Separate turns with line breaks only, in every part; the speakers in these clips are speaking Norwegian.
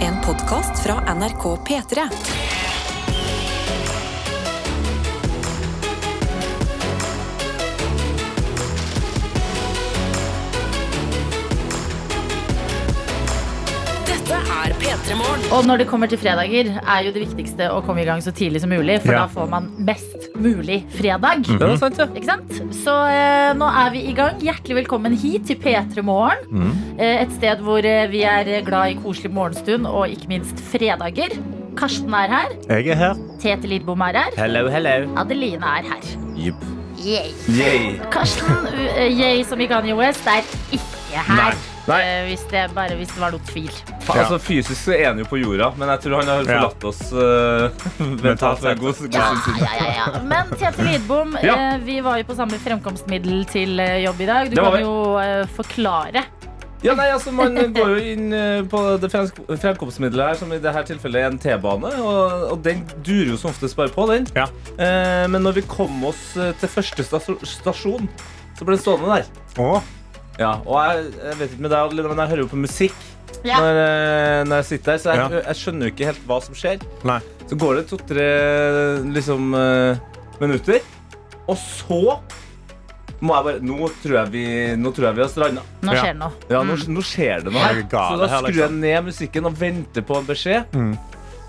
En podkast fra NRK P3. Dette er P3 Morgen.
Og når det kommer til fredager, er jo det viktigste å komme i gang så tidlig som mulig, for
Ja.
da får man mest mulig fredag.
Mhm.
Ja, det er sant, ja.
Ikke sant? Så eh, nå er vi i gang. Hjertelig velkommen hit til P3 Morgen.
Mhm.
Eh, et sted hvor eh, vi er glad i koselig morgenstund og ikke minst fredager. Karsten er her.
Jeg er her.
Tete Lidbom er her.
Hello, hello.
Adeline er her.
Jupp.
Yay.
Yay.
Karsten, eh, yay som i Kanye West, er ikke her.
Nei.
Eh, hvis, det, bare hvis det var noe tvil.
Fa- Altså, fysisk så er han jo på jorda, men jeg tror han har
Ja.
forlatt oss eh, mentalt for en god, god
Ja,
stund siden.
ja, ja, ja. Men Tete Lidbom,
Ja.
eh, vi var jo på samme fremkomstmiddel til eh, jobb i dag. Du
Det var
kan
vi.
jo eh, forklare.
Ja, nei, altså, Man går jo inn eh, på det fremsk- fremkomstmiddelet her, som i dette tilfellet er en T-bane. Og, og den durer jo som oftest bare på, den.
Ja.
Eh, men når vi kom oss eh, til første stas- stasjon, så ble den stående der.
Og
Ja, Og jeg, jeg vet ikke med deg, Adeline, men jeg hører jo på musikk
Ja.
når, eh, når jeg sitter her, så jeg,
Ja.
jeg skjønner jo ikke helt hva som skjer.
Nei.
Så går det to-tre liksom, eh, minutter, og så må jeg bare Nå tror jeg vi, nå tror jeg vi har stranda.
Nå
Ja.
skjer det noe.
Ja, nå, nå skjer det noe her.
Er Mm. det
Så
gale
da
her,
skrur jeg
liksom?
ned musikken og venter på en beskjed.
Mm.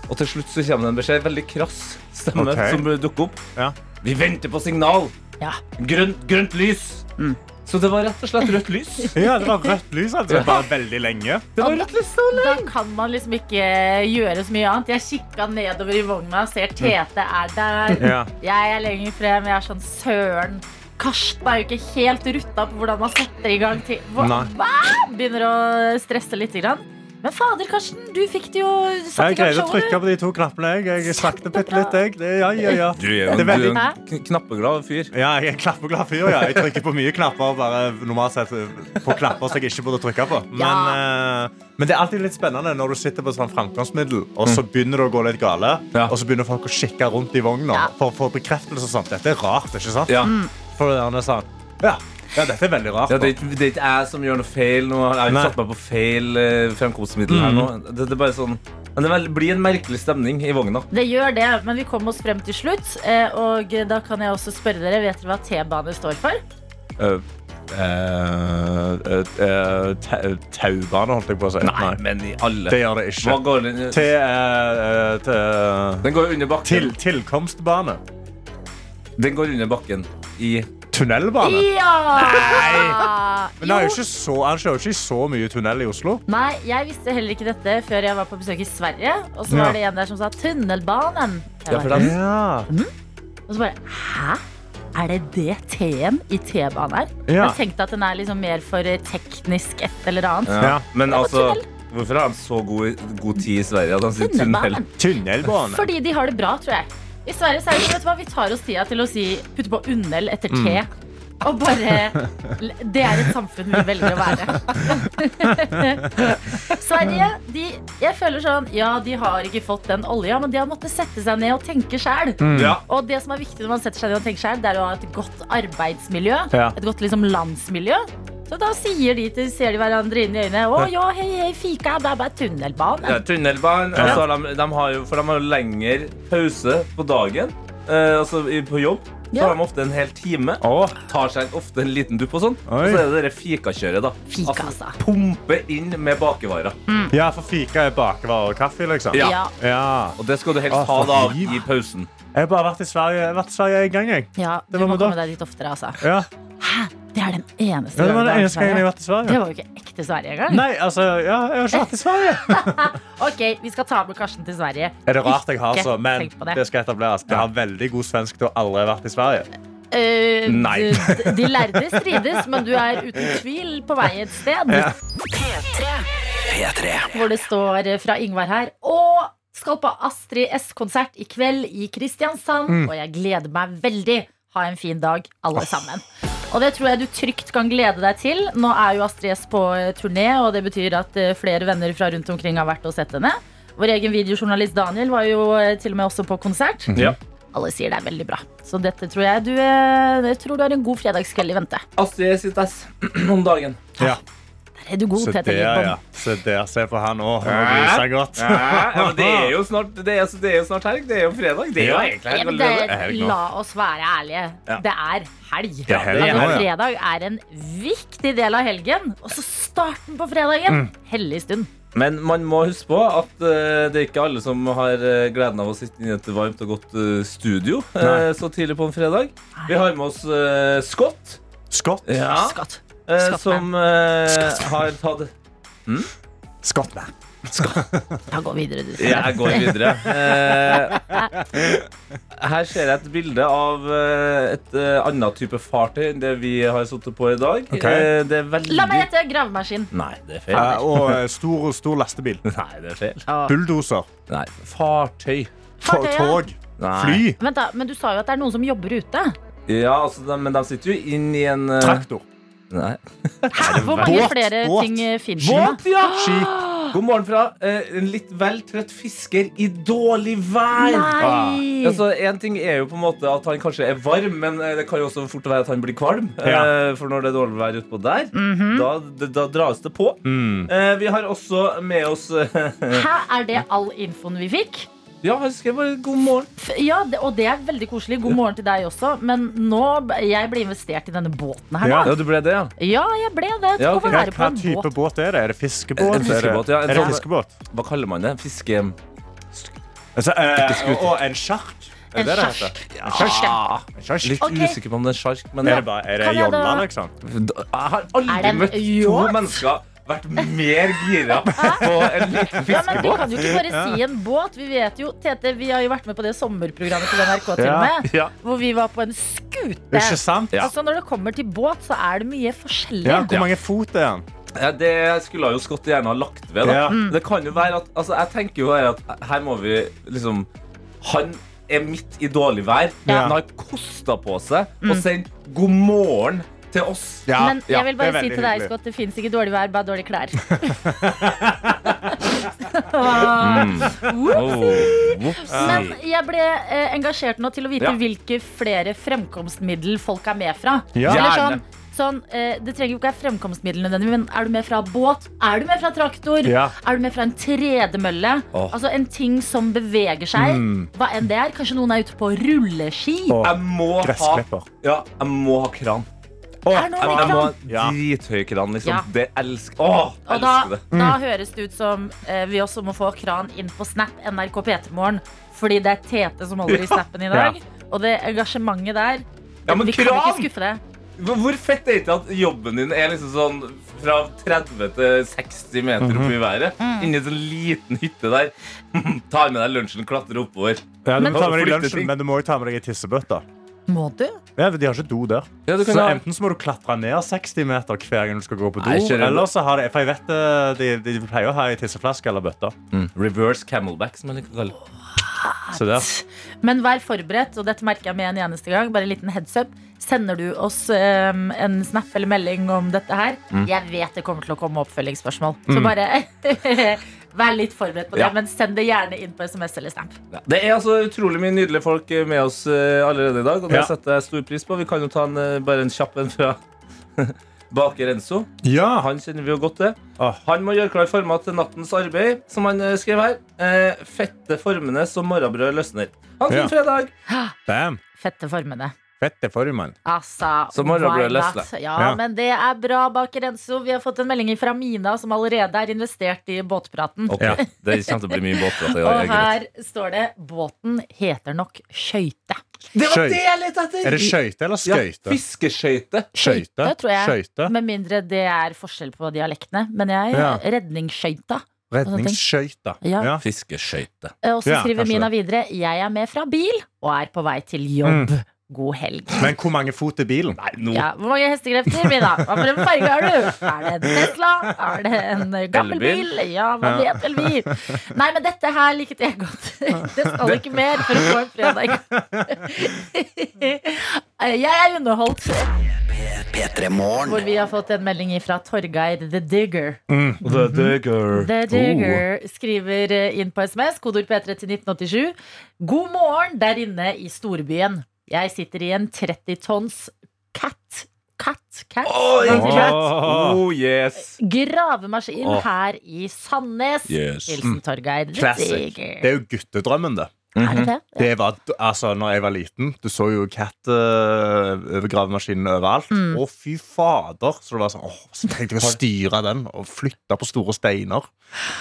Og til slutt så kommer det en beskjed, veldig krass stemme,
Ok.
som dukker opp.
Ja.
Vi venter på signal!
Ja.
Grønt, grønt lys!
Mm.
Så det var rett og slett rødt lys.
Ja, det var rødt lys altså. bare veldig lenge.
Det var rødt lys så
Da kan man liksom ikke gjøre så mye annet. Jeg kikka nedover i vogna, ser Tete er der.
Ja.
Jeg er lenger frem. Jeg er sånn søren. Karsten er jo ikke helt rutta på hvordan man setter i gang ting. Hva?
Nei.
Hva? Begynner å stresse litt. Grann. Men fader, Karsten, du fikk det jo satt
Jeg
i gang
greide å
showet.
trykke
du.
på de to knappene. Jeg, jeg stakk det bitte litt, jeg. Det, ja, ja, ja.
Du er
Det er veldig-
jo en kn- knappeglad fyr.
Ja, jeg er klappeglad fyr. Ja. Jeg trykker på mye knapper. Bare normalt sett eh, på knapper som jeg ikke burde trykke på. Men, eh, men det er alltid litt spennende når du sitter på et sånt framkomstmiddel, og så begynner det å gå litt gale,
Ja.
og så begynner folk å kikke rundt i vogna
Ja.
for å få bekreftelse og sånt. Dette er rart, ikke sant?
Ja.
For det er sånn, ja. ja, dette er veldig rart.
Ja, det, er ikke, det er ikke jeg som gjør noe feil. Nå har jeg
Nei.
ikke satt meg på feil eh, fremkomstmiddel her nå. Det, det er bare sånn Men det vel- blir en merkelig stemning i vogna.
Det gjør det, men vi kom oss frem til slutt. eh, Og da kan jeg også spørre dere, vet dere hva T-bane står for?
Eh, eh, eh, ta- Taubane, holdt jeg på å si.
Nei, men i alle
Det gjør det ikke.
Hva går den
Til, eh, eh, til
Den går under
til,
bakken.
Tilkomstbane.
Den går under bakken i eh,
Tunnelbane.
Ja!
Men det er jo
Jo.
ikke så, han kjører jo ikke så mye tunnel i Oslo.
Nei, jeg visste heller ikke dette før jeg var på besøk i Sverige. Og så
Ja.
var det en der som sa 'Tunnelbanen'. Jeg
Ja, for
bare,
den-
Ja.
og så bare Hæ? Er det det T-en i T-banen er?
Ja.
Jeg tenkte at den er liksom mer for eh, teknisk et eller annet.
ja.
Ja.
Men
Ja,
altså
tunnel.
Hvorfor har de så god, god tid i Sverige at de sier tunnel?
Tunnelbanen.
Tunnelbane.
Fordi de har det bra, tror jeg. I Sverige så er det sånn, vet du hva, vi tar oss tida til å si putte på unnel etter T.
Mm.
Og bare Det er et samfunn vi velger å være. Sverige, de Jeg føler sånn Ja, de har ikke fått den olja, men de har måttet sette seg ned og tenke sjæl.
Mm.
Ja.
Og det som er viktig når man setter seg ned og tenker selv, det er å ha et godt arbeidsmiljø.
Ja.
Et godt liksom, landsmiljø. Så da sier de til, ser de hverandre inn i øynene. Å ja, hei, hei, fika, det er bare tunnelbane.
Ja, tunnelbanen. Og så har de, de har jo, for de har jo lengre pause på dagen. Eh, altså i- på jobb. Så
Ja.
har de ofte en hel time.
Å.
Tar seg ofte en liten dupp og sånn.
Oi.
Og så er det det fikakjøret, da.
Fika, altså. Mm.
Pumpe inn med bakevarer.
Ja, for fika er bakevarer og kaffe, liksom.
Ja.
Ja.
Ja.
Og det skal du helst
Å,
ha
Ah, for
da
liv.
i pausen.
Jeg har bare vært i Sverige, jeg har vært i Sverige en gang, jeg.
Ja,
Det
du
var
må
med da.
komme deg dit oftere, altså.
Ja.
Hæ? Det er den eneste gangen du
Ja, det var den
har vært i
eneste gangen jeg har vært i
Sverige. Det
Sverige.
var jo ikke ekte Sverige engang.
Nei, altså, ja, jeg har ikke vært i Sverige.
Ok, vi skal ta med Karsten til Sverige.
Er det rart jeg har
Ikke
så, men
tenk på det.
det skal etableres. Jeg har veldig god svensk til å aldri ha vært i Sverige.
Eh,
Nei.
d- De lærde strides, men du er uten tvil på vei et sted. Hvor det står eh, fra Ingvar her. Og skal på Astrid S-konsert i kveld i Kristiansand. Og jeg gleder meg veldig. Ha en fin dag, alle sammen. Og det tror jeg du trygt kan glede deg til. Nå er jo Astrid S på eh, turné, og det betyr at eh, flere venner fra rundt omkring har vært og sett henne. Vår egen videojournalist Daniel var jo eh, til og med også på konsert.
Mm.
Ja.
Alle sier det er veldig bra. Så dette tror jeg du, eh, jeg tror du har en god fredagskveld i vente.
Astrid sitt ass om dagen.
Ja.
er du god,
Se
Peter
der, ja.
Lindbom.
Se der, se på han òg. Han bryr seg godt.
Ja, men det er jo snart det er, altså, det er jo snart helg. Det er jo fredag. Det er jo
Ja.
egentlig
Ja,
helg
men det,
allerede.
helg nå.
la oss være ærlige.
Ja.
Det er helg.
Det er helg
Altså,
nå, ja.
Fredag er en viktig del av helgen. Og så starten på fredagen!
Mm.
Hellig stund.
Men man må huske på at eh, det er ikke alle som har eh, gleden av å sitte inne i et varmt og godt eh, studio eh, så tidlig på en fredag. Vi har med oss eh, Scott,
Skott.
Ja.
Skatt.
eh,
Scottman.
som eh, har tatt
Skott med.
Da går vi videre. du.
Jeg går videre. Eh, her ser jeg et bilde av eh, et eh, annet type fartøy enn det vi har sittet på i dag.
Ok.
Eh, det er veldig
La meg gjette gravemaskin.
Nei, det er feil.
Eh, og eh, stor, stor lastebil.
Nei, det er feil.
Å.
Bulldoser.
Nei, fartøy.
To-
Fartøy, ja.
Tog.
Nei. Eh.
Fly.
Vent da, Men du sa jo at det er noen som jobber ute.
Ja, altså, de, men de sitter jo inn i en eh,
Traktor.
Nei.
Hæ? Hvor mange
Båt,
flere
båt,
ting eh, finnes det?
Båt, ja!
Skip.
God morgen fra eh, en litt vel trøtt fisker i dårlig vær.
Ah.
Nei!
Altså, en ting er jo på en måte at han kanskje er varm, men eh, det kan jo også fort være at han blir kvalm.
Ja.
eh, For når det er dårlig vær utpå der, da, da, da dras det på.
Mm.
Eh, Vi har også med oss eh,
Hæ, er det all infoen vi fikk?
Ja, jeg skrev bare god morgen.
F- Ja, det, og det er veldig koselig. God morgen til deg også. Men nå b- jeg ble investert i denne båten her.
Ja.
Ja, du ble det, ja.
Ja, jeg ble det.
Ja,
Tenk å
ok.
være på
Hva
en
type
båt.
båt er det? Er det fiskebåt?
En fiskebåt, ja.
Er
En
det
sånn-
fiskebåt?
Hva kaller man det? Fiske...
Altså,
sånn-
eh,
Fiskeskute.
og en sjark. Er
En
det det
sjark.
heter?
Ah,
En sjark.
litt
Ok.
usikker på om det er sjark, men
Er det bare er det
Kan jeg da-
jolla, liksom?
Jeg har
Er
aldri
det en
møtt to
yacht?
mennesker vært mer gira på
Ja, men
en liten
Vi
fiskebåt.
kan jo ikke bare si en båt. Vi vet jo, Tete, vi har jo vært med på det sommerprogrammet til NRK til og med.
Ja.
Hvor vi var på en skute.
Ikke sant?
Altså Når det kommer til båt, så er det mye forskjellig.
Ja, hvor mange fot er den?
Ja, det skulle jo Scott gjerne ha lagt ved. Da.
Ja.
Mm.
Det kan jo være at altså, Jeg tenker jo her at her må vi liksom Han er midt i dårlig vær,
Ja.
men har kosta på seg
Mm.
og sendt god morgen til oss.
Ja,
Men
ja,
jeg vil
det
bare
er
si
veldig
til deg,
hyggelig.
Scott, det fins ikke dårlig vær, bare dårlige klær.
Oh,
Men jeg ble eh, engasjert nå til å vite
Ja.
hvilke flere fremkomstmiddel folk er med fra.
Ja.
Eller
Gjerne.
sånn, sånn, eh, det trenger jo ikke være fremkomstmiddel nødvendig, men er du med fra båt? Er du med fra traktor?
Ja.
Er du med fra en tredemølle?
Åh. Mm.
Altså en ting som beveger seg. Hva enn det er. Kanskje noen er ute på rulleski?
Åh.
Jeg må ha
Gressklipper.
Ja, jeg må ha kran.
Er det noe
Jeg,
med
jeg må ha
kran?
Ja.
drithøy kran, liksom.
Ja.
Det elsker Åh, jeg
Og da,
elsker det. Mm.
da høres det ut som eh, vi også må få kran inn på Snap NRK P3morgen. Fordi det er Tete som holder i snappen i dag. Og det engasjementet der
Ja, men
Vi kan
kran!
ikke skuffe det.
Hvor hvor fett er det ikke at jobben din er liksom sånn fra 30 til 60 meter opp
Mhm.
i været?
Mm.
Inni en sånn liten hytte der. Tar med deg lunsjen, klatrer oppover.
Ja, du
Men-
må ta med deg
Flytte
lunsjen,
ting.
men du må jo ta med deg en tissebøtte.
Må du?
Ja, de har ikke do der.
Ja, du kan
så
ha-
Enten så må du klatre ned 60 meter hver gang du skal gå på do.
Nei, kjører-
eller så har de, for jeg vet eh, de, de pleier å ha en tisseflaske eller bøtte.
Reverse camelback, som jeg liker å kalle det.
Så der.
Men vær forberedt, og dette merker jeg med en eneste gang. Bare en liten heads up. Sender du oss eh, en snap eller melding om dette her?
Mm.
Jeg vet det kommer til å komme oppfølgingsspørsmål. Så bare vær litt forberedt på det.
Ja.
Men send det gjerne inn på SMS eller Snap.
Ja. Det er altså utrolig mye nydelige folk med oss eh, allerede i dag, og det
Ja.
setter jeg stor pris på. Vi kan jo ta en, eh, bare en kjapp en fra baker Enzo.
Ja,
Han kjenner vi jo godt til.
Åh.
Han må gjøre klar former til nattens arbeid, som han eh, skrev her. Eh, fette formene som morgenbrød løsner. Ha en fin
Ja.
fredag!
damn.
Fette formene.
Fette formann.
Altså,
Så må det
why
bli løst,
not?
da.
Ja,
Ja.
men det er bra, Baker Enzo. Vi har fått en melding fra Mina, som allerede er investert i båtpraten.
Ok,
Ja.
Det kommer til å bli mye båtprat i dag.
Og
jeg gidder ikke.
her står det 'båten heter nok skøyte'.
Det var
Skøy-
det jeg lette etter!
Er det skøyte eller
Ja,
skøyte?
fiskeskøyte.
Skøyte,
tror jeg.
skøyte.
Med mindre det er forskjell på dialektene. Men jeg
Ja.
redningsskøyta.
Redningsskøyte.
Ja.
Ja.
Fiskeskøyte.
Eh, Og så
Ja,
skriver
kanskje
Mina
det.
videre 'Jeg er med fra bil og er på vei til jobb'. God helg.
Men hvor mange fot er bilen?
Nei, nå
Ja, hvor mange hestekrefter, Mina? Hva for en farge har du? Er det en Tesla? Er det en gammel bil?
Elbil?
Ja, hva vet vel vi? Nei, men dette her likte jeg godt. Det skal ikke mer for å få en fredag. Jeg er underholdt. Hvor vi har fått en melding fra Torgeir The Digger.
Mm.
The digger.
The
Oh.
Digger skriver eh, inn på SMS, kodord P3 til 1987. God morgen der inne i storbyen. Jeg sitter i en 30 tonns cat Cat Cat.
Oi,
Nei,
cat.
Åh.
Oh, yes.
Gravemaskin
Åh.
her i Sandnes.
Yes.
Hilsen Torgeir.
Classic. Det
Diger.
er jo guttedrømmen, det.
Er det det?
Det var, altså, når jeg var liten, du så jo katt øh, over gravemaskinen overalt. Å, fy fader! Så det var sånn, åh, så tenkte jeg å styre den og flytte på store steiner.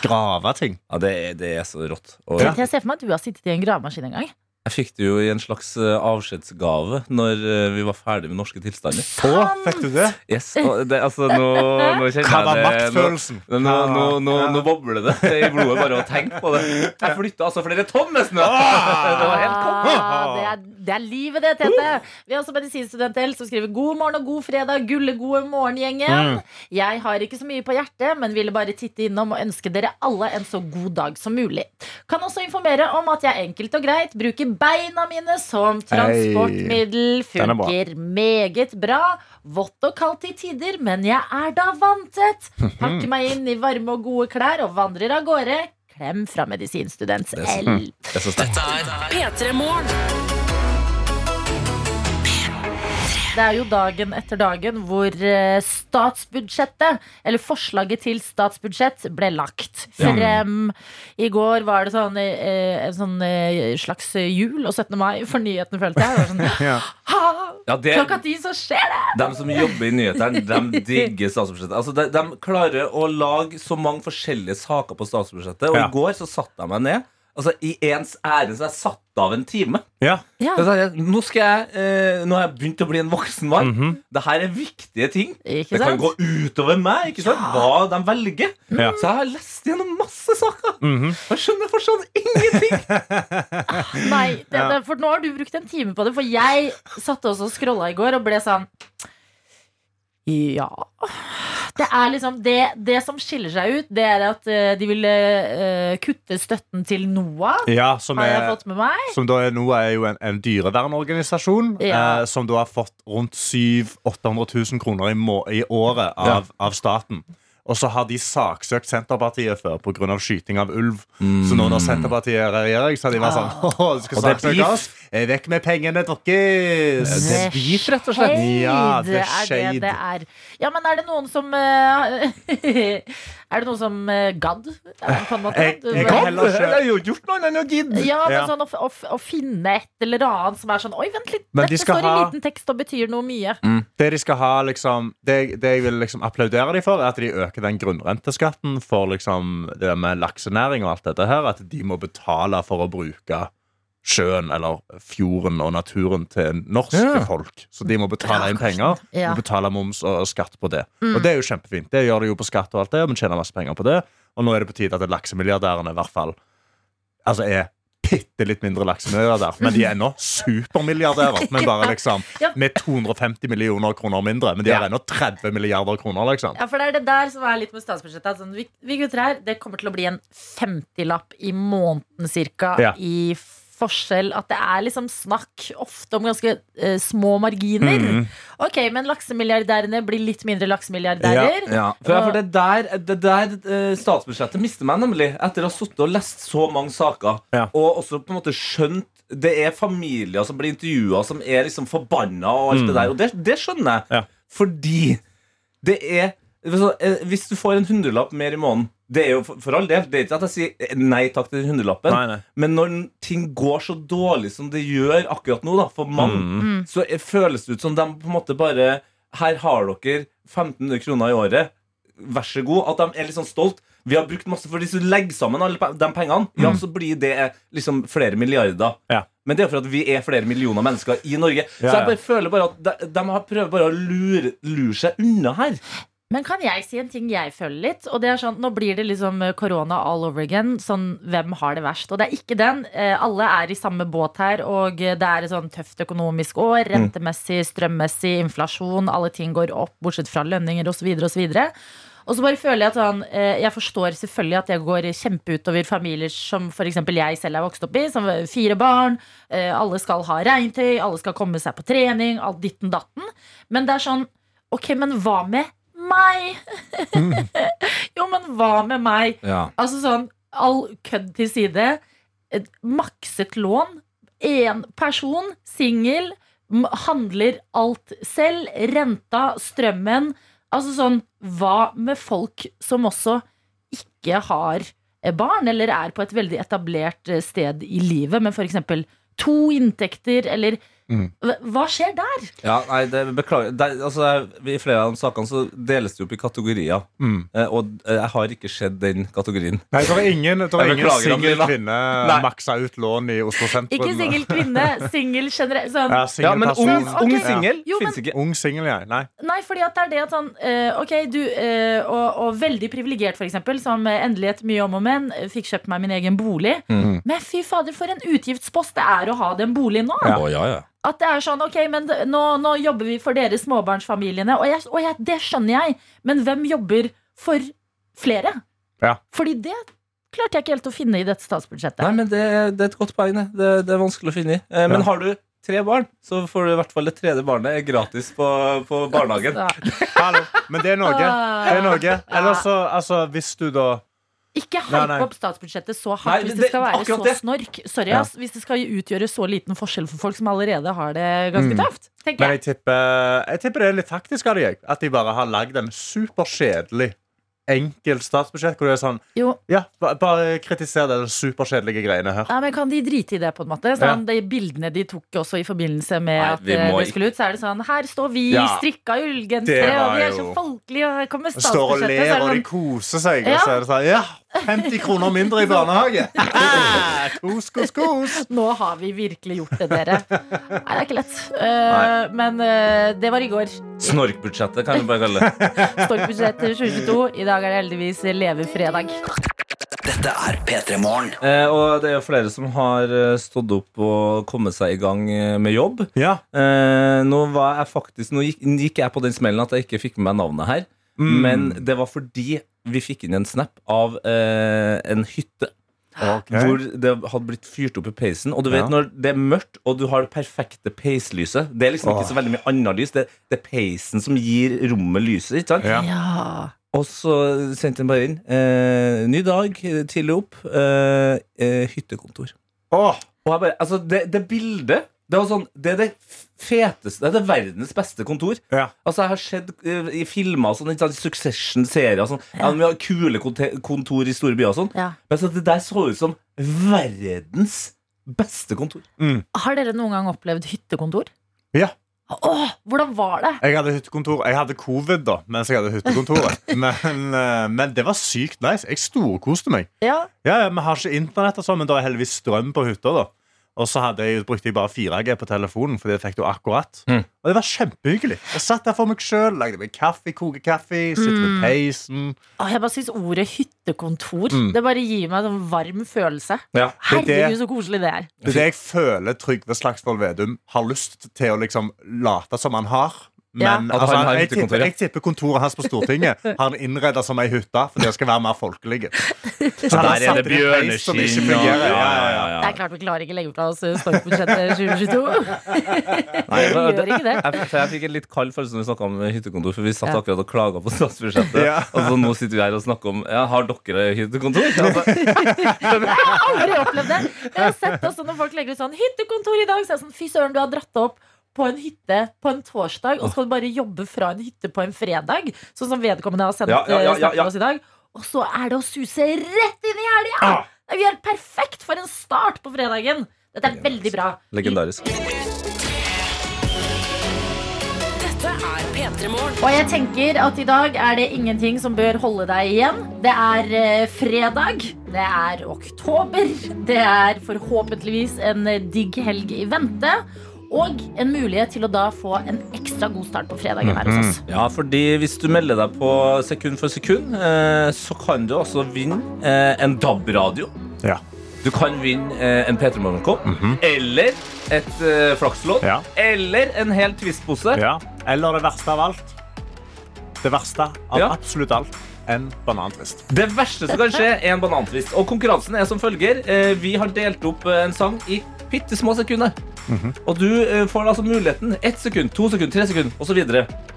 Grave ting.
Ja, det er, det er så rått. Og
Ja.
Jeg ser for meg at du har sittet i en gravemaskin en gang.
jeg fikk det jo i en slags eh, avskjedsgave når eh, vi var ferdig med norske tilstander.
Å, fikk du det?
Yes, og det, altså, nå, nå
Hva
kjenner
var
jeg det. Nå,
maktfølelsen?
nå, nå, nå, nå bobler det i blodet bare å tenke på det. Jeg flytta altså flere tonn nesten!
Ah!
Det var helt konge.
Ah, det, er, det er livet, det, Tete. Vi har også medisinstudent L som skriver god morgen og god fredag. Gullegode
Mm.
morgengjengen. Jeg har ikke så mye på hjertet, men ville bare titte innom og ønske dere alle en så god dag som mulig. Kan også informere om at jeg enkelt og greit bruker beina mine som transportmiddel.
Den er bra.
Funker meget bra. Vått og kaldt i tider, men jeg er da vanntett. Pakker meg inn i varme og gode klær og vandrer av gårde. Klem fra medisinstudent
Det er mm. så-
L.
Det er så sterkt.
P3 Morgen.
Det er jo dagen etter dagen hvor eh, statsbudsjettet, eller forslaget til statsbudsjett, ble lagt frem. I går var det sånn, eh, en sånn eh, slags jul og 17. mai for nyhetene, følte jeg. Det var sånn,
Ja.
ha,
Ja, det,
klokka ti så skjer det!
De som jobber i nyhetene, de digger statsbudsjettet. Altså, de, de klarer å lage så mange forskjellige saker på statsbudsjettet. Og
Ja.
i går så satte jeg meg ned. Altså, I ens ærend så jeg satt av en time.
Ja.
Ja,
Da sa jeg, Nå, skal jeg, eh, nå har jeg begynt å bli en voksen mann. Dette er viktige ting.
ikke
Det kan
sant?
gå utover meg, ikke sant? hva de velger.
Ja.
Så jeg har lest gjennom masse saker. Jeg skjønner fortsatt ingenting.
Nei, det, det, for nå har du brukt en time på det, for jeg satt også og scrolla i går og ble sånn ja Det er liksom Det, det som skiller seg ut, det er at eh, de ville eh, kutte støtten til NOAH.
ja, som
Har jeg
er
fått med meg?
som da er, nå er jo en, en dyrevernorganisasjon
Ja.
eh, som da har fått rundt 700 000-800 000 kroner i, må, i året av, av staten. Og så har de saksøkt Senterpartiet før pga. skyting av ulv. Så nå når Senterpartiet er i regjering, så har de vært sånn Åh, du skal
Mm. Og det er
saksøke
beef.
oss? Eh, Vekk med pengene, deres!
Det er beef, rett og slett.
Shade
Ja, det er
er
shade.
det det er. Ja, men er det noen som eh, Er det noen som eh, gadd? eh, På en måte?
Jeg-
Du-
jeg
Jeg
kan heller ikke-
har jo gjort noe annet enn å gidde.
ja, men
Ja.
sånn å, f- å, f- å finne et eller annet som er sånn Oi, vent litt,
Men de
dette
skal
står i
ha- Mm.
liten tekst og betyr noe mye.
Det de skal ha liksom det, det jeg vil liksom applaudere dem for, er at de øker den grunnrenteskatten for liksom det der med laksenæring og alt dette her. At de må betale for å bruke sjøen eller fjorden og naturen til norske
Ja.
folk. Så de må betale inn penger
Ja. Mm.
og betale moms og og skatt på det. Og det er jo kjempefint. Det gjør de jo på skatt og alt det, og vi tjener masse penger på det. Og nå er det på tide at laksemilliardærene i hvert fall altså er bitte litt mindre laksemilliardær, men de er ennå supermilliardærer. Men bare liksom
Ja.
med 250 millioner kroner mindre. Men de har ennå 30 milliarder kroner, liksom.
Ja, for det er det der som er litt med statsbudsjettet. at Sånn, vi, vi gutter her, det kommer til å bli en 50-lapp i måneden cirka
Ja.
i forskjell. At det er liksom snakk ofte om ganske eh, små marginer.
Mm.
Ok, men laksemilliardærene blir litt mindre laksemilliardærer.
Ja, for, ja, for det der, det der eh, statsbudsjettet mister meg nemlig Etter å ha suttet og lest så mange saker
Ja.
Og også på en måte skjønt Det er familier som blir intervjuet Som er liksom forbanna og alt det der Og det, det skjønner jeg
Mm. Ja.
Fordi det er altså, eh, Hvis du får en hundrelapp mer i måneden Det er jo for, for all del Det er ikke at jeg sier eh, nei takk til hundrelappen
nei.
men når ting går så dårlig som det gjør akkurat nå, da, for mange,
Mm.
så er- føles det ut som de på en måte bare Her har dere 1500 kroner i året, vær så god. At de er litt sånn stolt. Vi har brukt masse, for Hvis du legger sammen alle pe- de pengene, ja, så blir det liksom flere milliarder.
Mm. Ja.
Men det er for at vi er flere millioner mennesker i Norge.
Ja,
Så
ja.
jeg bare føler bare at de, de har prøver bare å lure, lure seg unna her.
Men kan jeg si en ting jeg føler litt? Og det er sånn, Nå blir det liksom eh, korona all over again. Sånn, Hvem har det verst? Og det er ikke den. Eh, alle er i samme båt her, og eh, det er et sånn tøft økonomisk år. Rentemessig, strømmessig, inflasjon. Alle ting går opp, bortsett fra lønninger osv. osv. Og så bare føler jeg at sånn, eh, jeg forstår selvfølgelig at det går kjempeutover familier som f.eks. jeg selv er vokst opp i, som er fire barn. eh, Alle skal ha regntøy, alle skal komme seg på trening, alt ditten datten. Men det er sånn, ok, men hva med meg?
Mm.
jo, men hva med meg? Altså sånn, all kødd til side. Et makset lån. Én person, singel. m- handler alt selv. Renta, strømmen. Altså sånn Hva med folk som også ikke har eh, barn, eller er på et veldig etablert eh, sted i livet, men f.eks. to inntekter, eller
Mm.
Hva- Hva skjer der?
Ja, nei, det, beklager. Det, er- altså, det er- I flere av de sakene så deles det opp i kategorier.
Mm.
Eh, Og eh, jeg har ikke sett den kategorien.
Nei, det er ingen, det er
Jeg
ingen
beklager,
singel
Adelina.
kvinne
Nei.
maksa ut lån i Oslo sentrum.
Ikke singel kvinne, singel generelt. Sånn.
Ja,
Ja, men ung,
singelperson.
Ok.
ung
Ja.
singel
Jo, men-
fins ikke.
Ung singel, ja. Nei.
Nei, fordi at det er det at sånn eh, Ok, du, eh, og, og veldig privilegert for eksempel Som eh, endelig et mye om og men eh, Fikk kjøpt meg min egen bolig
Mhm.
Men fy fader, for en utgiftspost det er å ha den boligen nå
Ja.
Å, ja, ja.
At det er sånn, ok, men det- nå, nå jobber vi for dere småbarnsfamiliene Og, jeg, og jeg, det skjønner jeg Men hvem jobber for flere?
Ja.
Fordi det klarte jeg ikke helt å finne i dette statsbudsjettet
Nei, men det, det er et godt poeng. Det, det, det er vanskelig å finne i. Eh, Men
Ja.
har du tre barn, så får du i hvert fall det tredje barnet er gratis på, på barnehagen.
Så,
Hallo. Men det er noe.
Ah.
Det er noe. Eller så, altså, hvis du da
Ikke
Nei,
hype
nei.
opp statsbudsjettet så hardt
Nei,
hvis
det-
det skal være
akkurat
så
det.
snork. Sorry,
Ja.
ass. Hvis det skal utgjøre så liten forskjell for folk som allerede har det ganske
Mm.
tøft.
Men
tenker jeg.
jeg tipper, jeg tipper det er litt taktisk av de, jeg. At de bare har lagd en superkjedelig enkel statsbudsjett hvor det er sånn
Jo,
Ja, ba- bare kritiser det superkjedelige greiene her.
ja, men Kan de drite i det, på en måte? Sånn, De bildene de tok også i forbindelse med
Nei,
at
vi
eh,
må
det skulle ut, så er det sånn Her står vi i
Ja.
strikka ullgensere,
Det var
og vi er så
jo-
folkelige, og her kommer
Står og
statsbudsjettet.
ler,
så er
og de
det sånn,
koser seg.
Ja.
Og så er det sånn Ja, 50 kroner mindre i barnehage! Ja, Kos, kos, kos!
Nå har vi virkelig gjort det, dere. Nei, det er ikke lett. Eh, men eh, det var i går.
Snorkbudsjettet kan vi bare kalle det.
Storkbudsjett 2022. I dag er det heldigvis levefredag.
Dette er P3 Morgen.
Eh, og det er jo flere som har eh, stått opp og kommet seg i gang eh, med jobb.
Ja.
Eh, nå var jeg faktisk Nå gikk, gikk jeg på den smellen at jeg ikke fikk med meg navnet her.
Mm.
Men det var fordi vi fikk inn en snap av eh, en hytte. Hvor det hadde blitt fyrt opp i peisen. Og du vet
Ja.
når det er mørkt, og du har det perfekte peislyset Det er liksom
Åh.
ikke så veldig mye annet lys. Det, det er peisen som gir rommet lyset. Ikke sant?
Ja.
Ja.
Og så sendte han bare inn. Eh, ny dag, tidlig opp. Eh, eh, hyttekontor.
Åh,
Og jeg bare, altså det, det bildet det, var sånn, det er det feteste Det er det verdens beste kontor.
ja.
Altså Jeg har sett eh, i filmer og sånn, ikke sant, Succession-serier og sånn. Ja. de har kule konte- kontor i store byer og sånn.
ja.
Men så det der så ut som verdens beste kontor.
Har dere noen gang opplevd hyttekontor?
Ja.
Åh, hvordan var det?
Jeg hadde hyttekontor Jeg hadde covid da, mens jeg hadde hyttekontoret. Men, eh, men det var sykt nice. Jeg storkoste meg.
Ja.
Ja, ja, Vi har ikke internett, og sånn, men det er heldigvis strøm på hytta. da Og så hadde jeg, brukte jeg bare 4G på telefonen, Fordi det fikk du akkurat.
Mm.
Og det var kjempehyggelig. Jeg satt der for meg sjøl, lagde meg kaffe, koke kaffe, sitte
Mm.
ved peisen.
Åh, jeg bare syns ordet hyttekontor
Mm.
Det bare gir meg en sånn varm følelse.
Ja.
Det er det-
Herregud, så koselig det er.
Det er det jeg føler Trygve Slagsvold Vedum har lyst til å liksom late som han har. Men
Ja.
At
altså,
han har
jeg,
hyttekontor,
tipper,
ja.
jeg tipper kontoret hans på Stortinget har han innreda som ei hytte. For det skal være mer folkelig. Så han har satt inn en peis som ikke
og-
fungerer. Ja, ja, ja.
Det er klart vi klarer ikke å legge fra oss eh, storkbudsjettet 2022.
Nei,
Vi
men det-
gjør ikke det.
Jeg, for jeg fikk en litt kald følelse når vi snakka om hyttekontor, for vi satt
Ja.
akkurat og klaga på statsbudsjettet.
Ja.
Og så nå sitter vi her og snakker om ja, Har dere hyttekontor? Altså,
Aldri opplevd det. Men jeg har sett også når folk legger ut sånn 'hyttekontor i dag', så er det sånn 'fy søren, du har dratt opp'. På en hytte på en torsdag, og skal du bare jobbe fra en hytte på en fredag. Sånn som vedkommende har sendt
Ja, ja, ja,
eh, snakket
ja, ja.
til oss i dag. Og så er det å suse rett inn i helga!
Ah.
Det er helt perfekt for en start på fredagen. Dette er veldig bra.
altså. legendarisk.
Dette er P3 Morgen.
Og jeg tenker at i dag er det ingenting som bør holde deg igjen. Det er eh, fredag, det er oktober, det er forhåpentligvis en eh, digg helg i vente. Og en mulighet til å da få en ekstra god start på fredagen her hos oss.
Ja, fordi hvis du melder deg på sekund for sekund, eh, så kan du altså vinne eh, en DAB-radio.
Ja.
Du kan vinne eh, en P3 Morgenkopp, eller et eh, flakslodd,
Mhm. Ja.
eller en hel Twist-pose.
Ja. Eller det verste av alt. Det verste av
Ja.
absolutt alt. En banantvist.
Det verste som kan skje, er en banantvist. Og konkurransen er som følger. Eh, Vi har delt opp eh, en sang i bitte små sekunder.
Mhm.
Og du eh, får altså muligheten. Ett sekund, to sekund, tre sekund osv.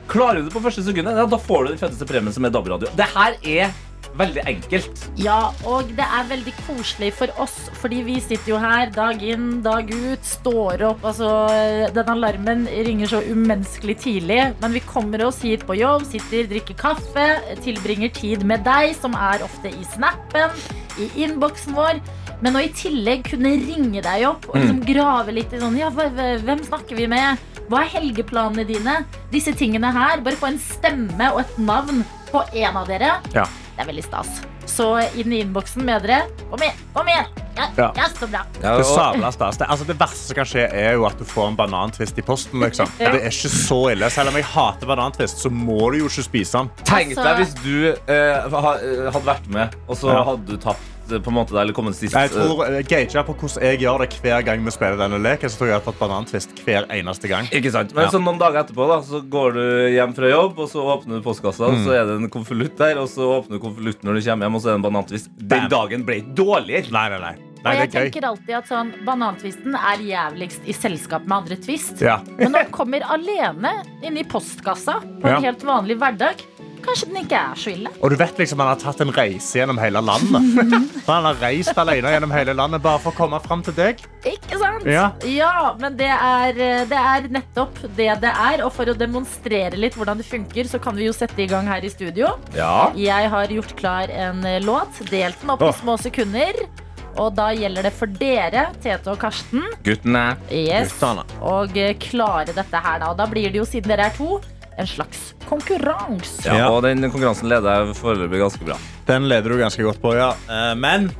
Klarer du det på første sekundet, ja, da får du den feteste premien, som er DAB-radio. Det her er veldig enkelt.
Ja, og det er veldig koselig for oss, fordi vi sitter jo her dag inn, dag ut, står opp. Altså, den alarmen ringer så umenneskelig tidlig, men vi kommer oss hit på jobb, sitter, drikker kaffe, tilbringer tid med deg, som er ofte i snappen, i innboksen vår. Men å i tillegg kunne ringe deg opp og liksom grave litt i sånn Ja, hva- hva- hvem snakker vi med? Hva er helgeplanene dine? Disse tingene her. Bare få en stemme og et navn på en av dere. Det er veldig stas. Så inn i innboksen med dere. Kom igjen! kom igjen Ja, ja.
Ja.
så bra.
Det sabla stas. Det, altså, det verste som kan skje, er jo at du får en banantvist i posten. Liksom.
Ja.
Det er ikke så ille. Selv om jeg hater banantvist, så må du jo ikke spise den.
Tenk
Altså-
deg hvis du eh, ha, eh, hadde vært med, og så
Ja.
hadde du tapt eh, på en måte der, eller kommet sist.
Jeg
eh,
tror, jeg gager på hvordan jeg gjør det hver gang vi spiller denne leken. Så tror jeg jeg har fått banantvist hver eneste gang.
eh, Ikke sant? Men altså,
Ja.
så noen dager etterpå da, så går du hjem fra jobb, og så åpner du postkassa, og så
Mm.
er det en konvolutt der, og så åpner du konvolutten når du kommer hjem, og så er det en banantvist. Den
Bam.
dagen ble dårligere.
Nei, nei, nei.
Og
nei
jeg
det er gøy.
tenker alltid at sånn, Banantvisten er jævligst i selskap med andre tvist.
Ja.
Men når den kommer alene inn i postkassa på en
Ja.
helt vanlig hverdag, kanskje den ikke er så ille.
Og du vet liksom han har tatt en reise gjennom hele landet. han har reist alene gjennom hele landet bare for å komme fram til deg.
Ikke sant?
Ja.
Ja, men det er, eh, det er nettopp det det er. Og for å demonstrere litt hvordan det funker, så kan vi jo sette i gang her i studio.
Ja.
Jeg har gjort klar en eh, låt, delt den opp i
Åh.
små sekunder. Og da gjelder det for dere, Tete og Karsten,
Guttene.
yes, og eh, klare dette her. Da Og da blir det jo, siden dere er to, en slags konkurranse.
Ja,
Ja.
Og den konkurransen leder jeg foreløpig ganske bra.
Den leder du ganske godt på, ja. Eh, Men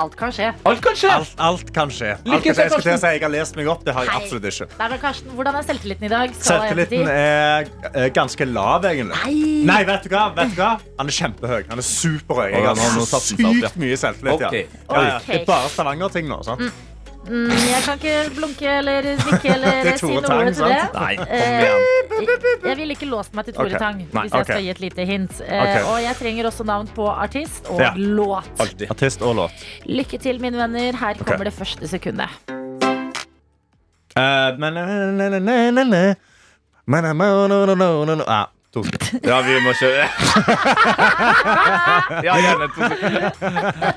Alt kan skje.
Alt kan skje!
alt, alt kan skje. Alt
Lykke
kan skje.
til,
Jeg skulle til
Karsten.
å si jeg har lest meg opp. Det har jeg
Hei.
absolutt ikke.
Nei, men Karsten, Hvordan er selvtilliten i dag? Skala én til ti?
Selvtilliten er er ganske lav, egentlig.
Nei.
Nei, vet du hva? Vet du hva? Han er kjempehøy. Han er superhøy. Jeg
Å, nå- nå
har så
satte han seg opp, ja.
sykt mye selvtillit.
Ok.
Ja. Ja, ja.
Ok.
Det er bare Stavanger-ting nå. sant?
Mm, Jeg kan ikke blunke eller nikke eller
Det er
si
Tore
noe
Tang,
til det. Eh,
sant? Nei, kom
jeg, jeg ville ikke låst meg til Tore
Ok.
Tang,
Nei,
hvis jeg
ok.
skal gi et lite hint. Eh,
Ok.
Og jeg trenger også navn på artist og
Ja.
låt.
Alltid.
Artist og låt.
Lykke til, mine venner. Her kommer det første sekundet.
Eh, men- men- men- men- Ja, to sekunder.
Ja, vi må kjøre. ja, gjerne to sekunder.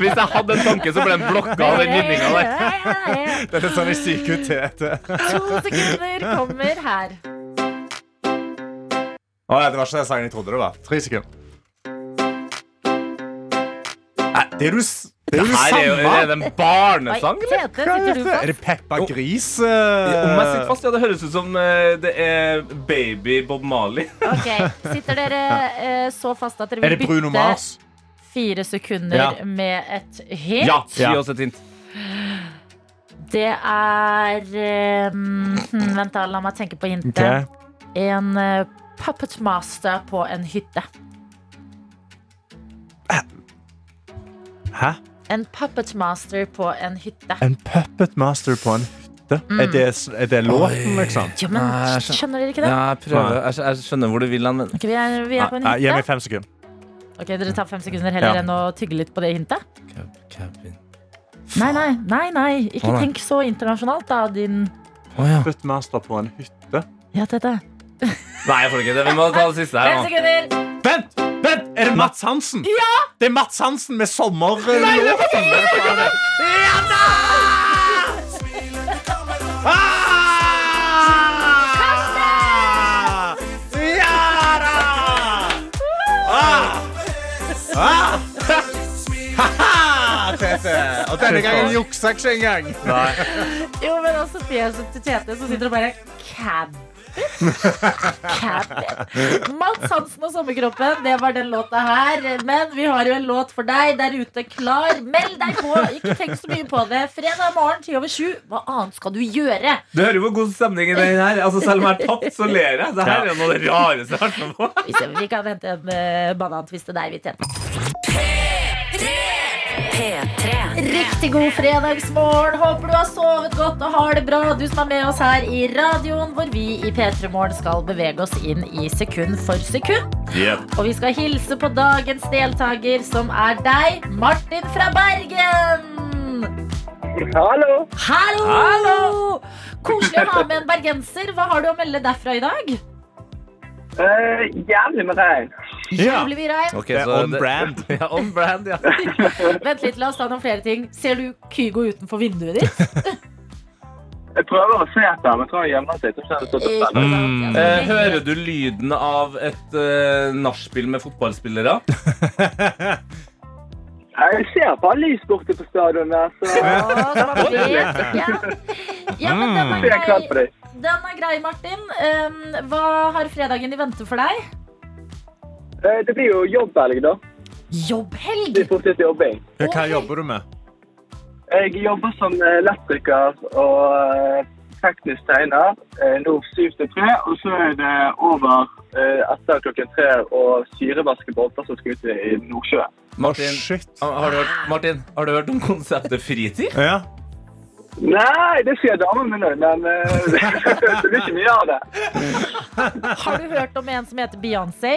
Hvis jeg hadde en tanke, så ble den blokka av den vinninga der.
Det er sånn jeg syker ut til etter.
To sekunder kommer her.
Å, ja, det var ikke den sangen jeg trodde det var. Tre sekunder. Nei, Det er jo s- det er jo det
Her er jo er
samme.
det en
Oi,
barnesang, eller?
Tete,
Hva er
sitter du
dette?
fast?
Er det Peppa Gris?
Om jeg sitter fast, ja, Det høres ut som eh, det er baby Bob Marley.
Ok, Sitter dere eh, så fast at dere
Er
vil
det Bruno
bytte
Mars?
fire sekunder
Ja.
med et hint?
Ja, gi
Ja.
oss et hint.
Det er eh, hmm, Vent, da. La meg tenke på hintet.
Ok.
En eh, puppet master på en hytte.
Hæ?
En puppet master på en hytte.
En puppet master på en hytte?
Mm.
Er, det, er det låten, liksom?
Ja, men
Nei, jeg skjønner-
Skjønner dere ikke det?
Ja, jeg prøver. Jeg, skj- jeg skjønner hvor du vil hen, men
Ok, vi, er, vi er på en
Nei, gi meg
hytte.
fem sekunder.
Ok, Dere tar fem sekunder heller
Ja.
enn å tygge litt på det hintet?
Cabin.
Nei, nei, nei, nei. ikke
Å, nei.
tenk så internasjonalt, da, din
Å, ja.
Puppet master på en hytte?
Ja, Tete.
Nei, jeg får ikke det. Vi må ta det siste
Fem
her nå.
sekunder!
Vent! Vent! Er det Mats Hansen? Ja! Det er Mats Hansen med sommer... Nei, det er Ah! Ja da! Ah! Ah! Ha-ha, Tete! Og denne gangen juksa jeg ikke engang.
Jo, men også fjeset til Tete som sitter og bare Cabin. Cabin. Mads Hansen og Sommerkroppen, det var den låta her. Men vi har jo en låt for deg der ute klar. Meld deg på! Ikke tenk så mye på det. Fredag morgen ti over sju. Hva annet skal du gjøre?
Du hører hvor god stemning i den her. Altså, selv om jeg har tapt, så ler jeg. Det her er noe av det rareste jeg har hørt på.
Vi, ser, vi kan hente en eh, banantvist til deg, vi, Tete.
P3.
Riktig god fredagsmorgen. Håper du har sovet godt og har det bra. Du som er med oss her i radioen, hvor vi i P3 Morgen skal bevege oss inn i sekund for sekund. Og vi skal hilse på dagens deltaker, som er deg, Martin fra Bergen.
Hallo!
Hallo! Koselig å ha med en bergenser. Hva har du å melde derfra i dag?
Eh, jævlig med regn.
Ja.
Jævlig mye regn.
Ok,
Det er
så
on brand.
Ja, on brand, ja.
Vent litt, la oss ta noen flere ting. Ser du Kygo utenfor vinduet ditt?
Jeg prøver å se etter, men jeg tror jeg gjemmer seg. Jeg tror ikke det er så
Ikke sant?
spennende.
Ja, så
Eh,
det-
hører du lyden av et eh, nachspiel med fotballspillere?
Jeg ser på alle lys borte på stadion der, så
Å, så man vet ikke. Ja, men den
så Mm.
er
jeg er klar
grei,
for deg.
den er grei Martin. Um, hva har fredagen i vente for deg?
Eh, det blir jo jobbhelg, da. Det
Jobbhelg!
blir fortsatt jobbing.
Hva jobber du med?
Jeg jobber som eh, elektriker og eh, teknisk tegner eh, nå syv til tre. Og så er det over eh, etter klokken tre å syrevaske båter som skal ut i Nordsjøen.
Å,
Martin,
shit.
har du hørt, Martin, har du hørt om konseptet fritid?
Ja.
Nei, det sier damen min òg, men eh, det blir ikke mye av det.
Har du hørt om en som heter Beyoncé?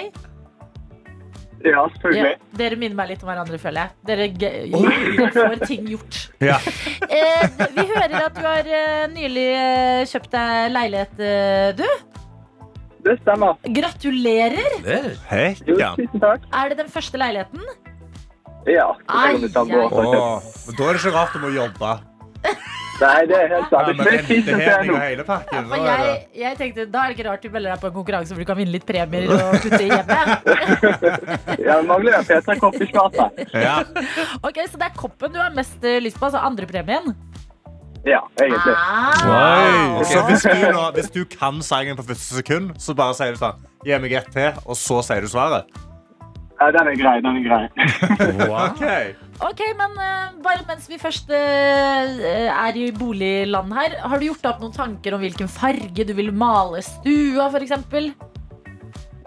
Ja, selvfølgelig.
Ja, dere minner meg litt om hverandre, føler jeg. Dere g- får ting gjort.
ja.
Eh, vi hører at du har eh, nylig eh, kjøpt deg leilighet, eh, du.
Det stemmer.
Gratulerer!
Jo,
Hekka.
tusen takk.
Er det den første leiligheten?
Ja, det
Ai,
kommer til å gå.
ai.
faktisk.
Da er det ikke rart du må jobbe.
Nei, det er helt
Ja,
sant.
men
Det er tusen
henteheving
til
og
nå.
hele pakken.
For
nå er
jeg,
det-
jeg tenkte, Da er det ikke rart du melder deg på en konkurranse hvor du kan vinne litt premier og putte i hjemmet.
Jeg mangler en P3-kopp i skapet.
Ja.
Ok, Så det er koppen du har mest eh, lyst på? altså Andrepremien?
Ja, egentlig. Ah.
Oi. Så
Ok.
hvis du, nå, hvis du kan sangen på første sekund, så bare sier du sånn Gi meg ett til, og så sier du svaret.
Ja, den er grei, den er grei. Ah.
Ok.
Ok, men eh, bare mens vi først eh, er i boligland her, har du gjort deg opp noen tanker om hvilken farge du vil male stua, f.eks.?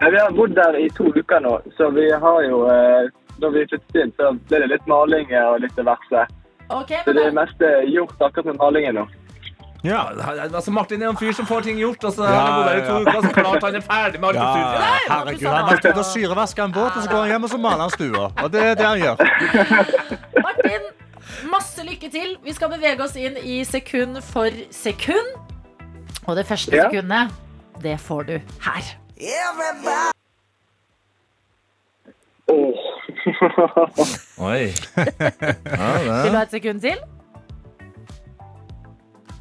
Ja, vi har bodd der i to uker nå, så vi har jo eh, Når vi flyttet inn, så ble det litt maling og litt diverse.
Ok,
Så
men
det
da-
meste er eh, gjort akkurat med malingen nå.
Ja, altså Martin er en fyr som får ting gjort. Altså,
Ja,
han har bodd her i to
ja, ja.
uker, så klart han er ferdig med alt
Ja,
kulturen.
ja, herregud,
sånn.
Han har vært ute og syrevaska en båt, og så går han hjem og så maler han stua. Og det er det han gjør.
Martin, masse lykke til. Vi skal bevege oss inn i sekund for sekund. Og det første
Ja.
sekundet, det får du her.
Åh.
Oi.
Vil du ha et sekund til?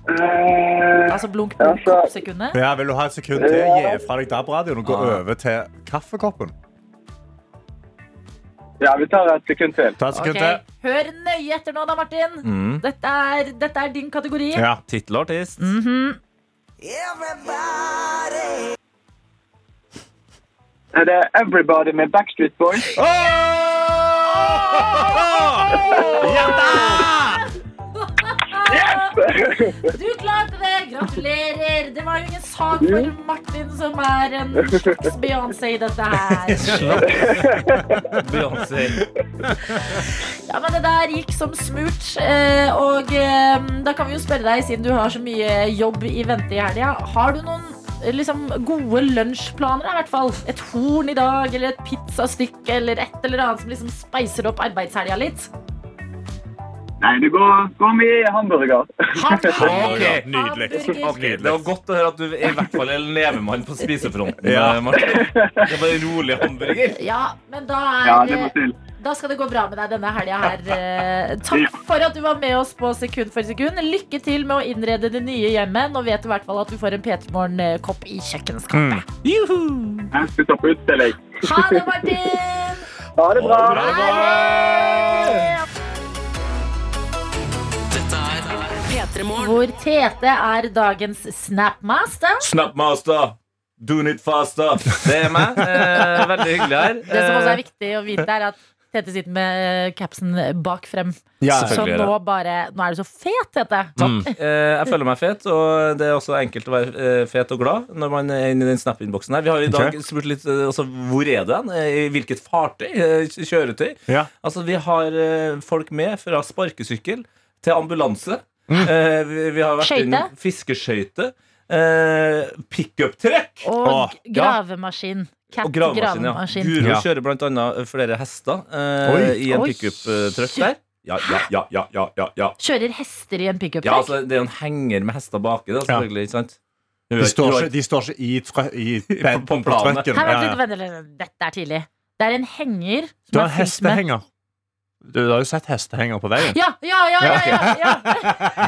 Eh,
Altså blunk, blunk,
Altså-
opp sekundet.
Ja, Vil du ha et sekund til? Gi fra deg DAB-radioen og gå
Ah.
over til kaffekoppen.
ja, vi tar et sekund til.
Ta et sekund
Ok,
til. Mm.
Hør nøye etter nå, da, Martin. Dette, er, dette er din kategori.
Ja.
Tittel og artist.
Er det Everybody med Backstreet Boys?
Du klarte det! Gratulerer! Det var jo ingen sak for
Mm.
Martin, som er en slags Beyoncé i dette her.
Beyoncé.
Ja, men Det der gikk som smurt. eh, Og eh, da kan vi jo spørre deg, siden du har så mye jobb i vente i helga, har du noen eh, liksom, gode lunsjplaner? i hvert fall? Et horn i dag, eller et pizzastykke, eller et eller annet som liksom speiser opp arbeidshelga litt?
Nei, det går, går mye i hamburger.
Ok,
nydelig.
Hamburger.
Ok, Det var godt å høre at du i hvert fall er en levemann på spisefronten.
Ja.
eh, Martin. Det var en rolig hamburger.
Ja, men da er
Ja,
eh,
det må til.
Da skal det gå bra med deg denne helga her. Eh, Takk for at du var med oss på Sekund for sekund. Lykke til med å innrede det nye hjemmet. Nå vet du i hvert fall at du får en P3 Morgen-kopp i kjøkkenskapet.
Jeg skal ta på utstilling.
Ha det, Martin!
Ha det bra.
Dette er
P3morgen.
Hvor Tete er dagens Snapmaster.
Snapmaster. Doing it faster. Det er meg. Eh, veldig hyggelig her.
Det som også er
Eh.
viktig å vite, er at Tete sitter med eh, capsen bak frem.
Ja,
så
selvfølgelig er det.
nå bare Nå er du så fet, Tete.
Eh, jeg føler meg fet, og det er også enkelt å være eh, fet og glad når man er inne i den snap-innboksen her. Vi har jo i dag
Ok.
spurt litt eh, altså, hvor er det hen? Eh, I hvilket fartøy? Eh, Kjøretøy?
Ja.
Altså, vi har eh, folk med fra sparkesykkel til ambulanse. Eh, vi, vi har vært
Skøyte.
innom fiskeskøyte. Eh, Pickup-trekk!
Og
Åh,
g- gravemaskin. Cat
Og gravemaskin. Ja.
gravemaskin.
Guro
Ja.
kjører blant annet flere hester
Oi.
eh, i en
Oi.
pickup-truck der. Ja, ja, ja, ja, ja, ja, ja.
Kjører hester i en pickup
Ja,
truck.
altså, det er jo en henger med hester baki, da, selvfølgelig. ikke sant?
De står ikke, de står ikke i, trø i
På- på planen.
trucken.
Her, vent,
Ja,
litt,
ja.
vent, vent, vent, Dette er tidlig. Det er en henger
Du
som
har
er fylt med
hestehenger. Du, du har jo sett hestehenger på veien.
Ja, ja, ja! ja, ja, ja.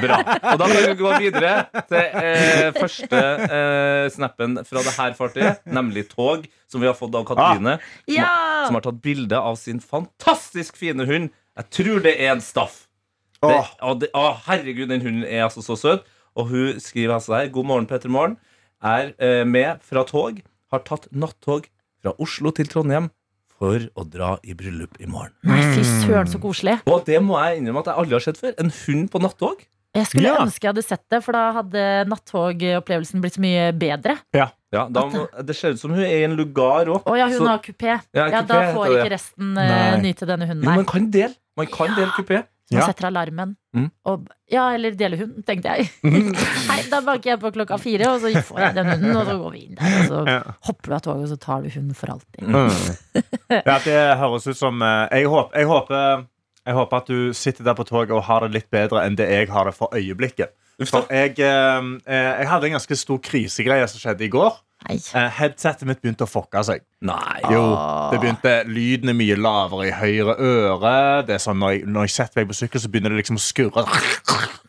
Bra. Og da kan vi gå videre til eh, første eh, snappen fra det her fartøyet, nemlig tog, som vi har fått av Katrine,
ja.
som har tatt bilde av sin fantastisk fine hund. Jeg tror det er en staff. Det,
Åh.
å, det, å, herregud, den hunden er altså så søt. Og hun skriver altså her God morgen, Petter Morgen. Er eh, med fra tog. Har tatt nattog fra Oslo til Trondheim for å dra i bryllup i morgen.
Nei, fy søren, så koselig.
Og det må jeg innrømme at jeg aldri har sett før. En hund på nattog.
Jeg skulle
Ja.
ønske jeg hadde sett det, for da hadde nattogopplevelsen blitt så mye bedre.
Ja, da må, Det ser ut som hun er i en lugar òg.
Å ja, hun
Så-
har kupé.
Ja,
Ja,
kupé
da
heter
får
det.
ikke resten eh,
Nei.
nyte denne hunden
Jo,
her.
man kan dele. Man kan dele kupé.
Så man
Ja.
setter alarmen.
Mm.
Og, ja, eller deler hunden, tenkte jeg. Nei, da banker jeg på klokka fire, og så får jeg den hunden, og så går vi inn der. Og så
Ja.
hopper du av toget, og så tar du hunden for alltid.
Mm. Ja, det høres ut som eh, jeg, håp, jeg, håper, jeg håper at du sitter der på toget og har det litt bedre enn det jeg har det for øyeblikket. For jeg, eh, eh, jeg hadde en ganske stor krisegreie som skjedde i går.
Nei.
Eh, headsetet mitt begynte å fucke seg.
Nei.
Jo, det begynte Lyden er mye lavere i høyre øre. Det er sånn, når, jeg, når jeg setter meg på sykkel, så begynner det liksom å skurre.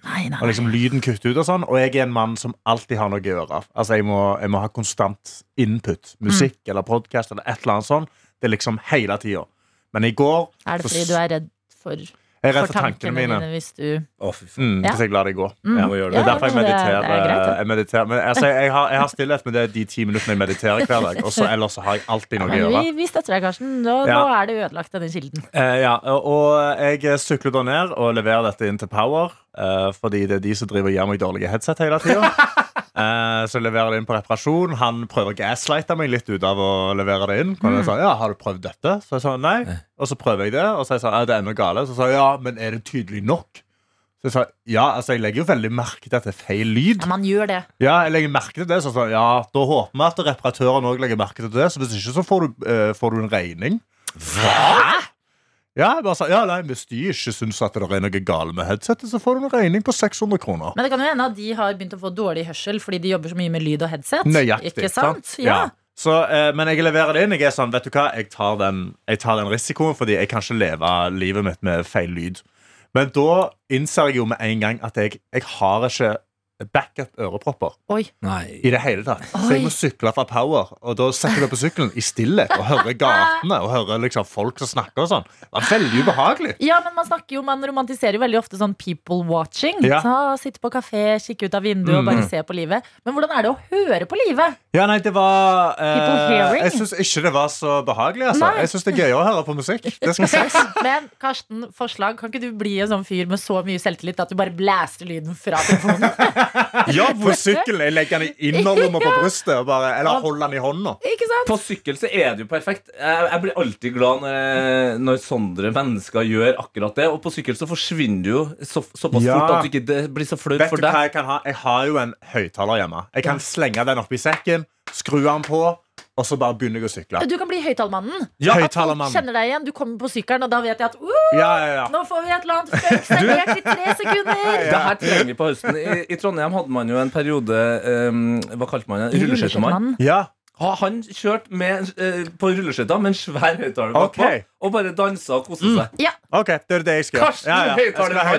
Nei, nei.
Og liksom lyden kutter ut og sånn. Og jeg er en mann som alltid har noe å gjøre. Altså, jeg må, jeg må ha konstant input. Musikk
Mm.
eller podkast eller et eller annet sånn. Det er liksom hele tida. Men i går
Er det
så
fordi
s-
du er redd for,
Jeg er
for
redd for tankene mine.
hvis du
Å, fy faen.
Mm,
Ja.
Hvis jeg lar det gå.
Mm.
Jeg må gjøre
Det er
Ja,
derfor jeg
men det er-
mediterer.
det er greit, det.
jeg mediterer. Men altså, jeg, har, jeg har stillhet, men det er de ti minuttene jeg mediterer hver dag. Og så ellers så har jeg alltid noe å
Men
gjøre.
vi, vi støtter deg, Karsten. Nå, nå
Ja.
er det ødelagt, denne kilden.
Eh, ja, og jeg sykler da ned og leverer dette inn til Power. eh, fordi det er de som driver og gir meg dårlige headset hele tida. Eh, så jeg leverer det inn på reparasjon. Han prøver å gaslighte meg litt ut av å levere det inn. Og jeg sa, ja, har du prøvd dette? Så jeg sa nei. Og så prøver jeg det, og så jeg sa, ja, det er ennå gale. Så sa jeg ja, men er det tydelig nok? Så jeg sa ja, altså jeg legger jo veldig merke til at det er feil lyd.
Ja, man gjør det.
Ja, jeg legger merke til det. Så sånn, ja, da håper vi at reparatøren òg legger merke til det. Så hvis ikke, så får du, eh, får du en regning. Hva?! Ja, jeg bare sa, ja, nei, Hvis de ikke syns at det er noe galt med headsetet, så får du en regning på 600 kroner.
Men det kan jo hende at de har begynt å få dårlig hørsel fordi de jobber så mye med lyd og headset.
Nøyaktig.
Ikke sant? Ja.
Så, eh, men jeg leverer det inn. Jeg er sånn, vet du hva, jeg tar, den, jeg tar den risikoen, fordi jeg kan ikke leve livet mitt med feil lyd. Men da innser jeg jo med en gang at jeg, jeg har ikke backup-ørepropper.
Oi.
I det hele tatt. Så jeg må sykle fra Power, og da setter jeg meg på sykkelen i stillhet og hører gatene og hører liksom folk som snakker og sånn. Det var veldig ubehagelig.
Ja, men man snakker jo, man romantiserer jo veldig ofte sånn people watching.
Ja.
Så, ah, sitte på kafé, kikke ut av vinduet og bare se på livet. Men hvordan er det å høre på livet?
Ja, nei, det var
People
eh,
hearing?
Jeg syns ikke det var så behagelig, altså.
Nei.
Jeg syns det er gøyere å høre på musikk. Det skal sies.
Men Karsten, forslag. Kan ikke du bli en sånn fyr med så mye selvtillit at du bare blæster lyden fra telefonen?
Ja, på sykkelen. Jeg legger den i innerlomma på brystet, og bare, eller holder den i hånda.
ikke sant?
På sykkel så er det jo perfekt. Jeg, jeg blir alltid glad når, jeg- når sånne mennesker gjør akkurat det. Og på sykkel så forsvinner du jo så, såpass
Ja.
fort at du ikke det blir så flaut
Vet
for
du hva
deg.
jeg kan ha? Jeg har jo en høyttaler hjemme. Jeg kan slenge den oppi sekken, skru den på, og så bare begynner jeg å sykle.
Du kan bli høyttalermannen.
Ja,
Kjenner deg igjen. Du kommer på sykkelen, og da vet jeg at uh,
Ja, ja, ja.
nå får vi et eller annet fuck servert i tre sekunder.
Det her trenger vi på høsten. I, I Trondheim hadde man jo en periode um, Hva kalte man det? Rulleskøytemann.
ja.
Ha- Han kjørte med, eh, på rulleskøyter med en svær høyttaler
Ok.
bakpå og bare dansa og koste seg.
Ok, det er det jeg skal gjøre.
Karsten,
ja, ja. Jeg skal være
høyttalermann.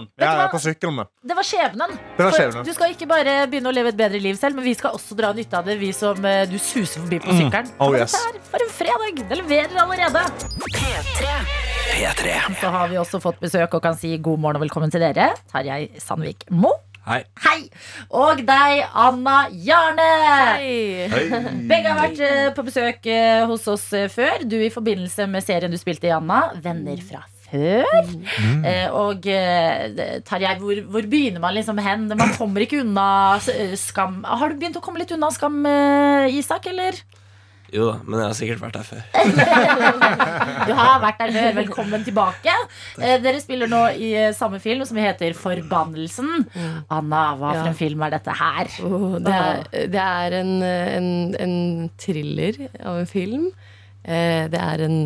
høyttalermannen. Ja,
du
ja,
hva?
på sykkelen min.
Det var skjebnen.
Det var
For
skjebnen.
Du skal ikke bare begynne å leve et bedre liv selv, men vi skal også dra nytte av det, vi som eh, du suser forbi på sykkelen.
Oh,
Og
yes.
dette er for en fredag! Det leverer allerede.
P3
Så har vi også fått besøk og kan si god morgen og velkommen til dere. Tarjei Sandvik Mo.
Hei.
Hei! Og deg, Anna Jarne.
Hei.
Begge har vært eh, på besøk eh, hos oss eh, før. Du i forbindelse med serien du spilte i, Anna. 'Venner fra før'. Eh, og eh, Tarjei, hvor, hvor begynner man liksom hen? Man kommer ikke unna eh, skam. Har du begynt å komme litt unna skam, eh, Isak, eller?
Jo da, men jeg har sikkert vært der før.
Du har vært der før. Velkommen tilbake. Eh, dere spiller nå i eh, samme film som heter 'Forbannelsen'. Anna, hva
Ja.
for en film er dette her?
Oh, det, er, det er en, eh, en, en thriller av en film. Eh, Det er en,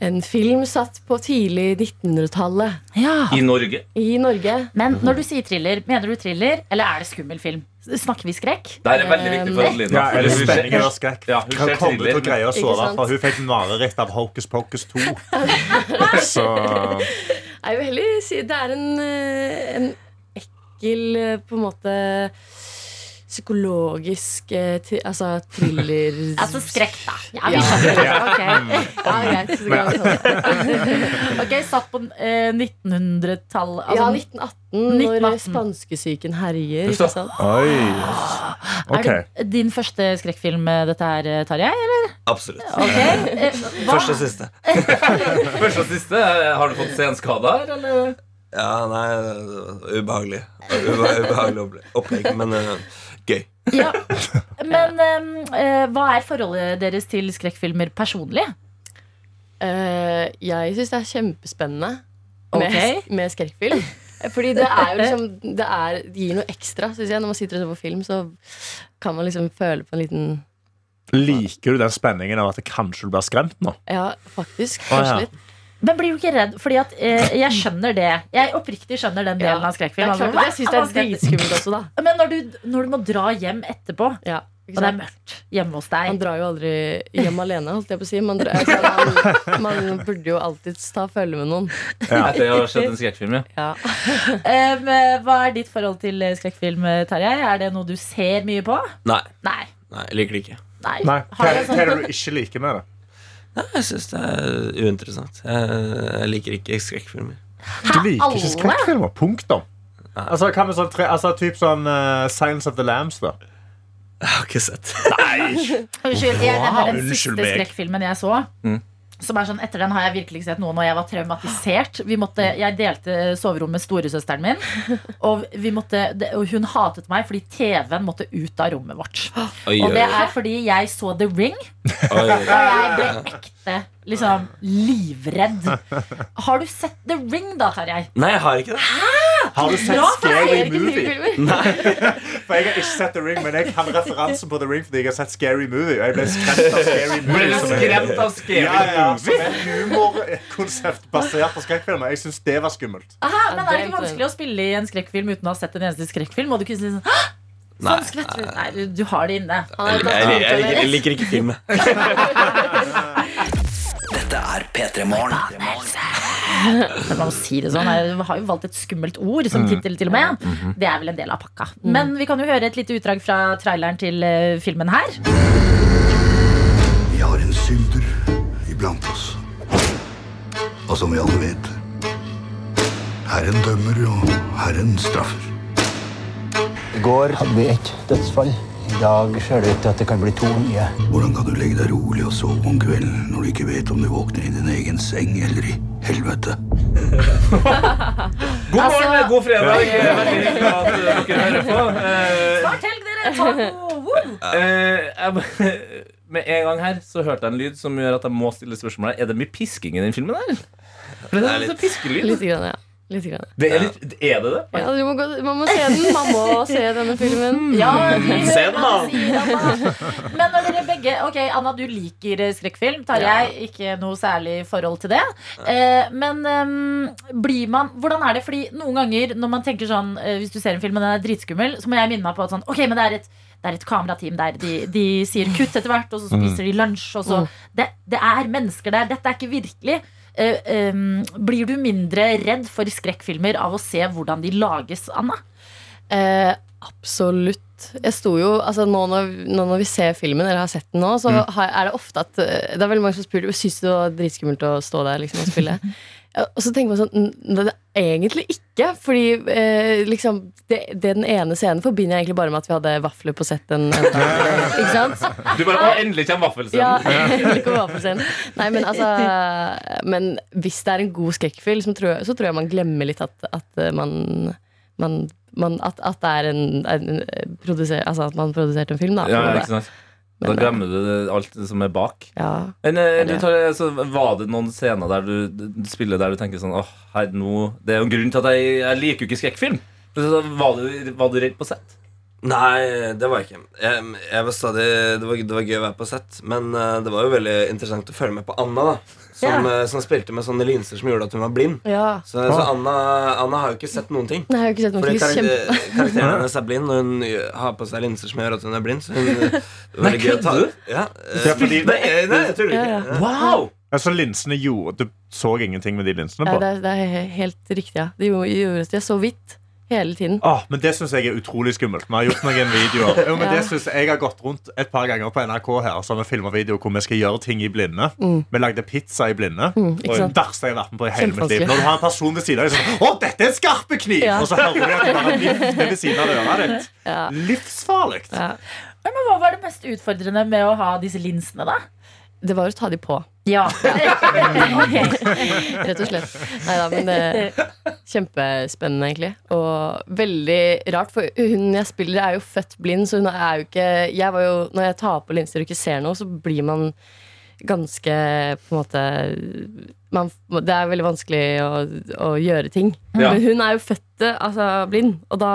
en film satt på tidlig 1900-tallet
Ja.
I Norge.
i Norge.
Mhm.
Men når du sier thriller, mener du thriller, eller er det skummel film? Snakker vi skrekk?
Det er veldig viktig for Adelina.
Ja, er det altså?
fordi hun
spenning
ser-
eller skrekk?
Ja, hun
Kan
ser
komme til å
thriller.
greie å
Ikke
sove,
sant?
for hun fikk mareritt av Hocus Pocus 2. Så
Jeg vil heller si det er en, eh, en ekkel eh, på en måte psykologisk eh, tri, Altså thriller
Altså skrekk, da. Ja, vi skjønner. det. Ok.
Mm. Ja, greit. så kan vi ta det.
Ok, satt på eh, 1900-tallet.
ja,
Altså,
1918,
1918.
når spanskesyken herjer.
Husk da.
Ikke sant?
Oi. Ok.
Ah, Er det din første skrekkfilm eh, dette her, eh, Tarjei? eller?
Absolutt.
Ok, eh, hva-
Første og siste.
Første og siste, eh, har du fått senskader, eller?
Ja, nei, ubehagelig. Ube ubehagelig opple- opplegg, men eh, gøy.
ja. Men ehm, eh, hva er forholdet deres til skrekkfilmer personlig?
Eh, jeg syns det er kjempespennende
Ok.
med, med skrekkfilm. Fordi det er jo liksom Det, er, det gir noe ekstra, syns jeg. Når man sitter og ser på film, så kan man liksom føle på en liten
Liker du den spenningen av at det kanskje du blir skremt nå?
Ja, faktisk.
Å,
Kanskje
ja.
litt.
Men blir du ikke redd? Fordi at eh, jeg skjønner det. Jeg oppriktig skjønner den delen
Ja,
av
Det
skrekkfilm.
er klart at jeg syns det er
Altså,
dritskummelt også, da.
Men når du, når du må dra hjem etterpå,
Ja,
og det er mørkt hjemme hos
Man
deg
drar jo aldri hjem alene, holdt jeg på å si. Man, drar, altså, man, man burde jo alltids ta følge med noen.
Etter å ha sett en skrekkfilm, ja.
Ja.
Ehm, eh, Hva er ditt forhold til eh, skrekkfilm, eh, Tarjei? Er det noe du ser mye på?
Nei,
Nei.
nei, jeg liker det ikke.
Nei.
Nei. Hva
Har
er
jeg
det hva er det du ikke liker med det?
Nei, Jeg syns det er uinteressant. Jeg, jeg liker ikke skrekkfilmer.
Du liker ikke
alle?
skrekkfilmer. Punktum. Altså, hva med sånn, tre, altså, typ sånn eh, Silence of the Lambs, da?
Jeg har ikke sett.
Unnskyld, jeg, det
Wow,
var den
unnskyld
siste
meg.
skrekkfilmen jeg så. Som er sånn, Etter den har jeg virkelig ikke sett noe når jeg var traumatisert. Vi måtte, jeg delte soverom med storesøsteren min. Og, vi måtte, det- og hun hatet meg fordi TV-en måtte ut av rommet vårt.
Oi,
Og
oi,
det er fordi jeg så The Ring,
oi, oi.
og jeg ble ekte liksom livredd. Har du sett The Ring da, Tarjei?
Nei, jeg har ikke det.
Har du sett
Bra, for jeg
Scary
ser ikke
Movie?
Filmer.
For jeg har ikke sett The Ring, men jeg kan referansen på The Ring fordi jeg har sett Scary Movie. Og jeg ble skremt av Scary Movie.
Ble du
som er-
skremt av Scary
Ja, ja,
Movie?
som er et humorkonsept basert på skrekkfilmer. Jeg syns det var skummelt.
Hæ, men Er
Ja, det
det ikke
er
vanskelig å spille i en skrekkfilm uten å ha sett en eneste skrekkfilm? Må du ikke si sånn, «Hæ?
Nei,
sånn skvetter du». Nei, du- du har det inne.
Han er
jeg, jeg,
blant
jeg, liker, jeg
annet
liker ikke film.
Dette er P3 Morgen.
Men man må si det sånn, jeg har jo valgt et skummelt ord som
Mm.
tittel til og med.
mhm.
Det er vel en del av pakka.
Mm.
Men vi kan jo høre et lite utdrag fra traileren til eh, filmen her.
Vi har en synder iblant oss. Og som vi alle vet Herren dømmer, og Herren straffer.
I går hadde vi ett dødsfall. I dag ser det ut til at det kan bli to nye.
Hvordan kan du legge deg rolig og sove om kvelden når du ikke vet om du våkner i din egen seng eller i helvete?
God morgen, god fredag. Eh, Veldig hyggelig at eh, dere hører på. Eh,
Snart helg, dere! Taco! Woo!
eh, jeg må- Med en gang her så hørte jeg en lyd som gjør at jeg må stille spørsmålet Er det mye pisking i den filmen her? For det er litt piskelyd.
Litt, grann, ja. Litt grann.
Det er, litt, er det det?
Ja, du må gå, man må se den. Man må se denne filmen.
Ja, vi
Mm. Se
hører
den,
hva
da.
han sier, Anna. Men når dere begge Ok, Anna, du liker eh, skrekkfilm. Tarjei, ikke noe særlig forhold til det. Eh, men eh, blir man Hvordan er det? Fordi noen ganger når man tenker sånn eh, Hvis du ser en film og den er dritskummel, så må jeg minne meg på at sånn Ok, men det er et det er et kamerateam der. De, de sier kutt etter hvert, og så
Mm.
spiser de lunsj. Og så. Det, det er mennesker der. Dette er ikke virkelig. Eh, eh, blir du mindre redd for skrekkfilmer av å se hvordan de lages, Anna?
Eh, absolutt. Jeg sto jo, altså nå når, nå når vi ser filmen, eller har sett den nå, så har, er det ofte at eh, Det er veldig mange som spør Syns du det var dritskummelt å stå der liksom, og spille. Ja, Og så tenker man sånn "N- det, det, Egentlig ikke. Fordi eh, liksom det, det den ene scenen forbinder jeg egentlig bare med at vi hadde vafler på sett en, en dag. Ikke sant?
Du bare, å, endelig kommer vaffelscenen.
Ja, ikke vafelscenen. Nei, men altså Men hvis det er en god skrekkfilm, så tror jeg, så tror jeg man glemmer litt at, at eh, man, man, man at, at det er en, en eh, produser, Altså at man produserte en film, da. på
Ja,
en måte.
ikke sant? Da
Men, eh,
glemmer du det- alt det som er bak.
ja.
Men, eh, du
det-
tar, altså, var det noen scener der du du spiller der du tenker sånn Åh, her nå Det er jo en grunn til at jeg, jeg liker jo ikke skrekkfilm. Så Var du, var du redd på sett?
Nei, det var jeg ikke. Jeg, jeg var stadig, det, var, det var gøy å være på sett, men eh, det var jo veldig interessant å følge med på Anna. da
som,
Ja.
eh, som spilte med sånne linser som gjorde at hun var blind.
Ja.
Så, så Anna, Anna har jo ikke sett noen ting.
Nei, jeg har ikke sett noen
Fordi
ting.
karakter,
Kjempe...
karakteren hennes er blind, og hun har på seg linser som gjør at hun er blind. Så hun, det var
Nei,
veldig gøy å ta
kødder du?
Ja, eh,
Ja, fordi-
nei, jeg- nei, jeg
eh,
tror
Ja,
ikke
ja.
Ja.
Wow!
Altså, linsene gjorde Du så ingenting med de linsene
Ja,
på.
det, er, det er he- helt riktig, ja. De gjorde- gjorde det så vidt hele tiden.
Åh, Ah, men det syns jeg er utrolig skummelt. Vi har gjort noen videoer. Jo, men
Ja.
det synes jeg jeg har gått rundt et par ganger på NRK her Så har vi filmet videoer hvor vi skal gjøre ting i blinde.
Mm.
Vi lagde pizza i blinde.
Mm,
Og
ikke
det
sant?
verste jeg har vært med på i hele mitt liv.
Kjempevanskelig.
Når du har en person ved siden av deg sånn Å, dette er en skarpe kniv!
Ja.
Og så hører du at det bare vifter ved siden av øret ditt.
Ja.
Livsfarlig.
Ja.
Men hva var det mest utfordrende med å ha disse linsene, da?
Det var å ta de på,
Ja.
rett og slett. Nei da, men det kjempespennende, egentlig. Og veldig rart, for hun jeg spiller, er jo født blind, så hun er jo ikke jeg var jo, Når jeg tar på linser og ikke ser noe, så blir man ganske på en måte man, Det er veldig vanskelig å, å gjøre ting.
Ja.
Men hun er jo født eh, altså, blind, og da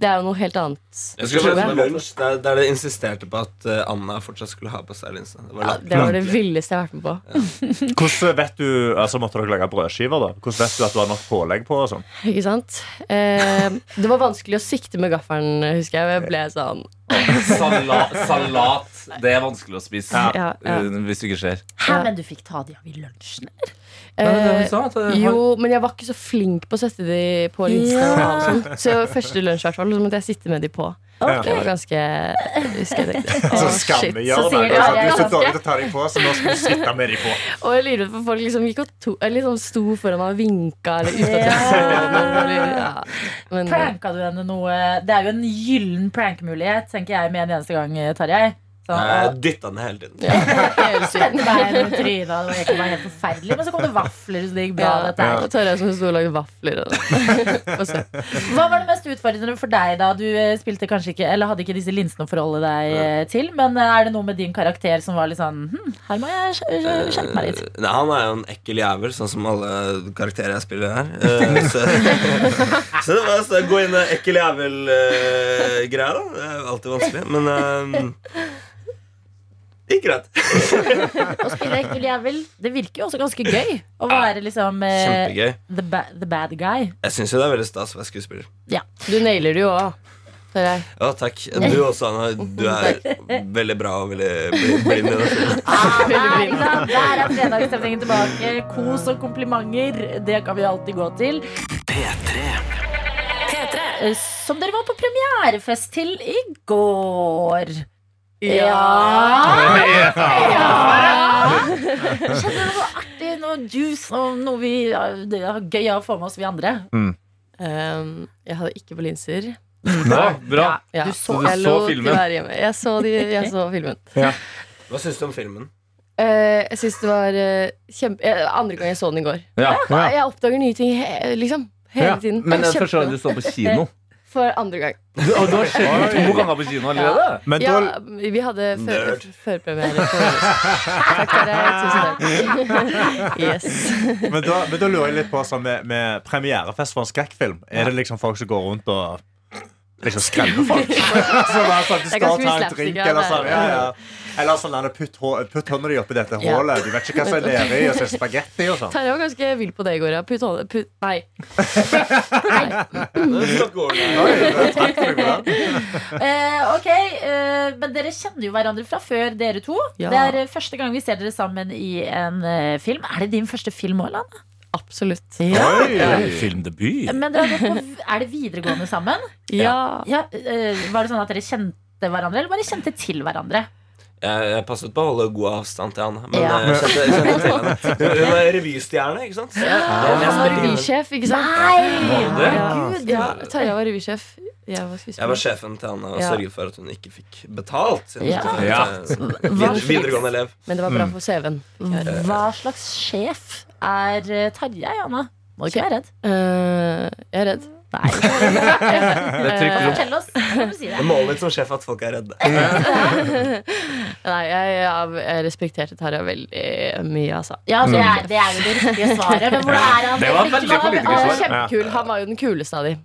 Det er jo noe helt annet.
Jeg
skulle
tror det
bare-
var lunsj, der, der det insisterte på at eh, Anna fortsatt skulle ha på seg linser. Det var
Ja,
lagt-
det var det villeste jeg har vært med på.
Hvordan vet du Altså, måtte dere lage brødskiver, da? Hvordan vet du at du har nok pålegg på og sånn?
Ikke sant? Eh, det var vanskelig å sikte med gaffelen, husker jeg. og Jeg ble sånn
Salat, salat. Det er vanskelig å spise
Ja, ja.
eh, hvis du ikke ser.
Hæ, men du fikk ta de av i lunsjen?
eh,
jo.
Jo, men jeg var ikke så flink på å sette de på linsene. og sånn. Så første lunsj, i hvert fall, så måtte jeg sitte med de på. Det var ganske husker jeg tenkte,
Så
«Å, shit».
skammer gjør
Så
det.
sier
Det
du
er
at jeg
sånn, Du er så
ganske-
dårlig til å ta deg på, så nå skal du sitte med deg på.
Og jeg lurer på folk liksom gikk og to, eller liksom sto foran meg og vinka eller uten
Ja.
at jeg så noe. eller- Ja. Men,
Pranka du henne noe? Det er jo en gyllen prankmulighet, tenker jeg med en eneste gang, Tarjei.
Nei,
Sånn,
Jeg dytta den hele tiden.
ja, hele tiden.
Bein i trynet, og det var egentlig bare helt forferdelig. Men så kom det vafler, så det gikk bra.
Ja,
Dette her.
og Tarjei som sto og lagde vafler. Og og så-
Hva var det mest utfordrende for deg da? Du eh, spilte kanskje ikke, eller hadde ikke disse linsene å forholde deg eh, til, men eh, er det noe med din karakter som var litt sånn hm, her må jeg skj- skj- skjerpe meg litt.
Nei, han er jo en ekkel jævel, sånn som alle karakterer jeg spiller her. Eh, så, så det var så gå inn i ekkel jævel-greia, da. Det er jo alltid vanskelig. Men eh, det gikk greit.
Å spille ekkel jævel, det virker jo også ganske gøy å være liksom eh,
Kjempegøy.
the, ba the bad guy.
Jeg syns jo det er veldig stas å være skuespiller.
Du nailer det jo òg, Tarjei.
Ja, takk. Du også, Anna. Du er veldig bra og veldig bl- blind. i den filmen.
Ah, der, ikke sant? der er fredagsstemningen tilbake. Kos og komplimenter, det kan vi alltid gå til.
P3.
Eh, Som dere var på premierefest til i går. Skjedde det noe artig, noe juice, noe, noe vi ja, det er gøy å få med oss, vi andre?
Um, jeg hadde ikke på linser.
Bra. bra.
Ja.
Du så-
du
jeg
så
lot de
filmen?
være hjemme. Jeg så, de, jeg så filmen.
Hva syns du om filmen?
Eh, jeg syns det var eh, kjempe... eh, andre gang jeg så den i går.
Ja.
Nei, Jeg oppdager nye ting he liksom. Hele
Ja.
tiden.
Men eh, den
Jeg er
første gang du
kjempe-
så på kino.
For andre gang.
Du, og du har sett den to ganger på kino allerede?
Men
Ja,
da
vi hadde før-
Nerd.
f- førpremiere. på- Takk til deg. Tusen takk. Yes.
Men da, men da lurer jeg litt på sånn, med, med premierefest for en skrekkfilm. Er det liksom folk som går rundt og liksom skremmer folk? Så bare sånn, du
Det er
skal ta
ganske mye
en drink
slapstick, ja,
Eller
det er-
sånn, ja, ja. Eller sånn der, putt, hå- putt hånda di oppi dette
Ja.
hullet. Du vet ikke hva som er nedi, og så er det spagetti og sånn.
Terje var ganske vill på det i går. Ja. Putt hånda put, Nei.
Eh, ok, eh, men dere kjenner jo hverandre fra før, dere to.
Ja.
Det er eh, første gang vi ser dere sammen i en eh, film. Er det din første film òg, Lan?
Absolutt.
Oi!
Filmdebut.
Men dere har gått på, v- er det videregående sammen?
Ja.
Ja, eh, var det sånn at dere kjente hverandre, eller bare kjente til hverandre?
Jeg, jeg passet på å holde god avstand til Anna. Men
Ja.
eh, jeg kjente, jeg kjente til henne Hun- Hun er revystjerne, ikke sant? Jeg,
Han var
spilte inn-
revysjef, ikke sant?
Nei!
det?
Herregud!
Ja, Terje var revysjef. Jeg var
jeg var
skuespiller.
sjefen til Anna og
Ja.
sørget for at hun ikke fikk betalt. siden hun
Ja.
skulle
Ja.
være, eh,
Hva
vid- Videregående elev.
Men det var bra for CV-en. fikk jeg høre.
Hva slags sjef er eh, Tarjei, Anna? Må du ikke være redd.
Eh, jeg er redd. Nei.
Det er trygt.
Fortell oss. hva kan du si det?
Det målet mitt som sjef er at folk er redde.
Nei, jeg, jeg, jeg respekterte Tarjei veldig mye, altså.
Ja, det er, det er jo det riktige svaret. Men hvor er han?
Det var veldig
Hva-
politikersvar.
Kjempekul. Han var jo den kuleste av de.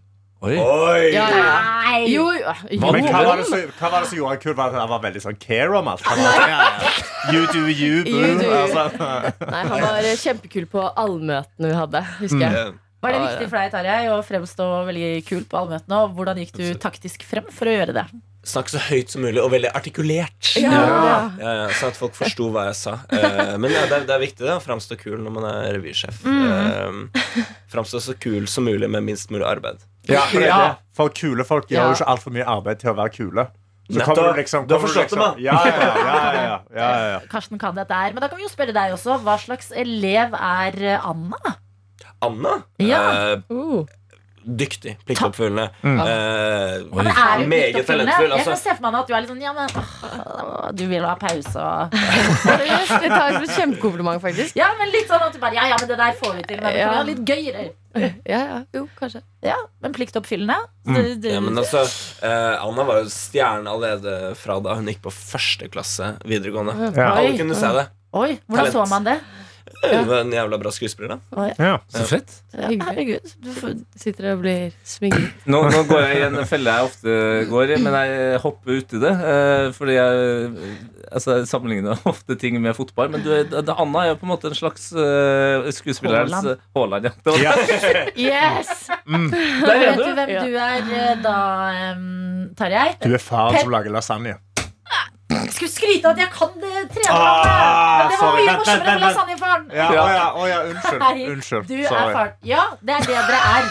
Oi.
Oi!
Ja, ja, ja.
Nei!
Jo, ja, jo.
Men hva var, det som, hva var det som gjorde han kul? Var det at han var veldig sånn care om alt? Han var, ja, ja. You do you, boo.
You do you.
Altså,
Nei, han var eh, kjempekul på allmøtene vi hadde, husker jeg.
Eh,
Var det
Ja,
viktig
ja.
for deg Tarjei, å fremstå veldig kul på allmøtene? Og hvordan gikk du taktisk frem for å gjøre det?
Snakk så høyt som mulig, og veldig artikulert.
Ja.
Ja, ja, sånn at folk forsto hva jeg sa. Eh, men ja, det, er, det er viktig det, å framstå kul når man er revysjef.
Mm.
Eh, framstå så kul som mulig med minst mulig arbeid.
ja, for, det, er
Ja.
det. for kule folk gjør
Ja.
jo ikke altfor mye arbeid til å være kule. Så
Nettopp.
kommer du liksom,
Du har
kommer
forstått det,
liksom,
da.
ja, ja, ja, ja, ja, ja, ja.
Karsten kan dette her, men da kan vi jo spørre deg også. Hva slags elev er eh, Anna?
Anna?
Ja.
eh,
Uh.
dyktig. Pliktoppfyllende.
Mm.
Eh,
Det er jo
meget
pliktoppfyllende.
talentfull.
Jeg kan
Altså.
se for meg at du er litt sånn Ja, men åh, du vil ha pause og
Seriøst, Det tar jeg som et kjempekompliment, faktisk.
Ja, men litt sånn at du bare Ja, ja, men det der får vi til. Men det kan vi ha litt gøyere.
Ja, ja, jo, kanskje
Ja, men pliktoppfyllende.
Mm.
Du- du-
Ja, men altså, eh, Anna var jo stjerne allerede fra da hun gikk på første klasse videregående.
Ja.
Alle kunne se det.
Oi, hvordan
Talent.
så man det?
Hun var en jævla bra skuespiller, da.
Så fett.
Ja,
Hyggelig.
herregud. Du får-
Sitter og blir sminket.
Nå, nå går jeg i en felle jeg ofte går i, men jeg hopper uti det. eh, Fordi jeg, altså, jeg sammenligner ofte ting med fotball. Men du, er- det, Anna er jo på en måte en slags eh, skuespillerens
Haaland.
Haaland. Ja. Det var-
Yes!
Der er
Vet
du!
du hvem
Ja.
du er eh, da, em, Tarjei?
Du er faren som lager lasagne.
Skulle skryte at jeg kan eh, trene
Ah,
ah, Men det var
sorry.
mye morsommere
Vent, vent, vent,
med
vent.
lasagnefaren
Ja, å ja, å ja, unnskyld.
Nei,
unnskyld.
Du er
Sorry.
faren Ja, det er det dere er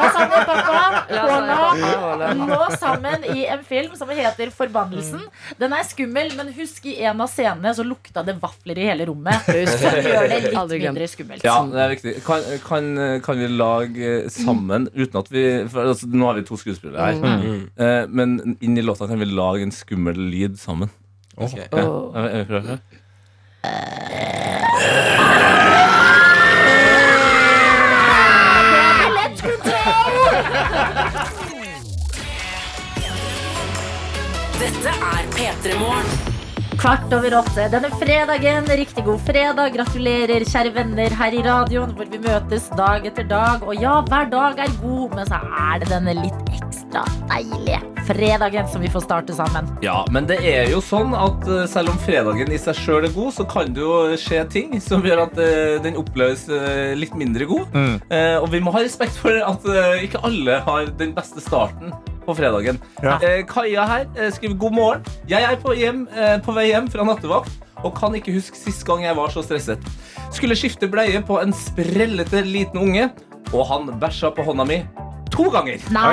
Lasagnepappa, Håla
Haaland.
Nå sammen i en film som heter Forbannelsen Den er skummel, men husk i en av scenene Så lukta det vafler i hele rommet Som gjør det litt
Aldri glemt.
mindre skummelt
Ja, det er viktig. Kan, kan, kan vi lage eh, sammen uten at vi for, altså, Nå har vi to skuespillere her. Eh, men inn i låta kan vi lage en skummel lyd sammen.
Ok.
Ja. Jeg, jeg prøver.
Dette er P3 Morgen.
Kvart over åtte denne fredagen. Riktig god fredag. Gratulerer, kjære venner, her i radioen hvor vi møtes dag etter dag. Og ja, hver dag er god, men så er det denne litt ekstra deilige fredagen som vi får starte sammen.
Ja, men det er jo sånn at eh, selv om fredagen i seg sjøl er god, så kan det jo skje ting som gjør at eh, den oppleves eh, litt mindre god. Eh, og vi må ha respekt for at eh, ikke alle har den beste starten på fredagen.
Ja.
Eh, Kaja her eh, skriver god morgen. Jeg er på, hjem, eh, på vei hjem fra nattevakt og kan ikke huske sist gang jeg var så stresset. Skulle skifte bleie på en sprellete liten unge, og han bæsja på hånda mi to ganger.
Nei!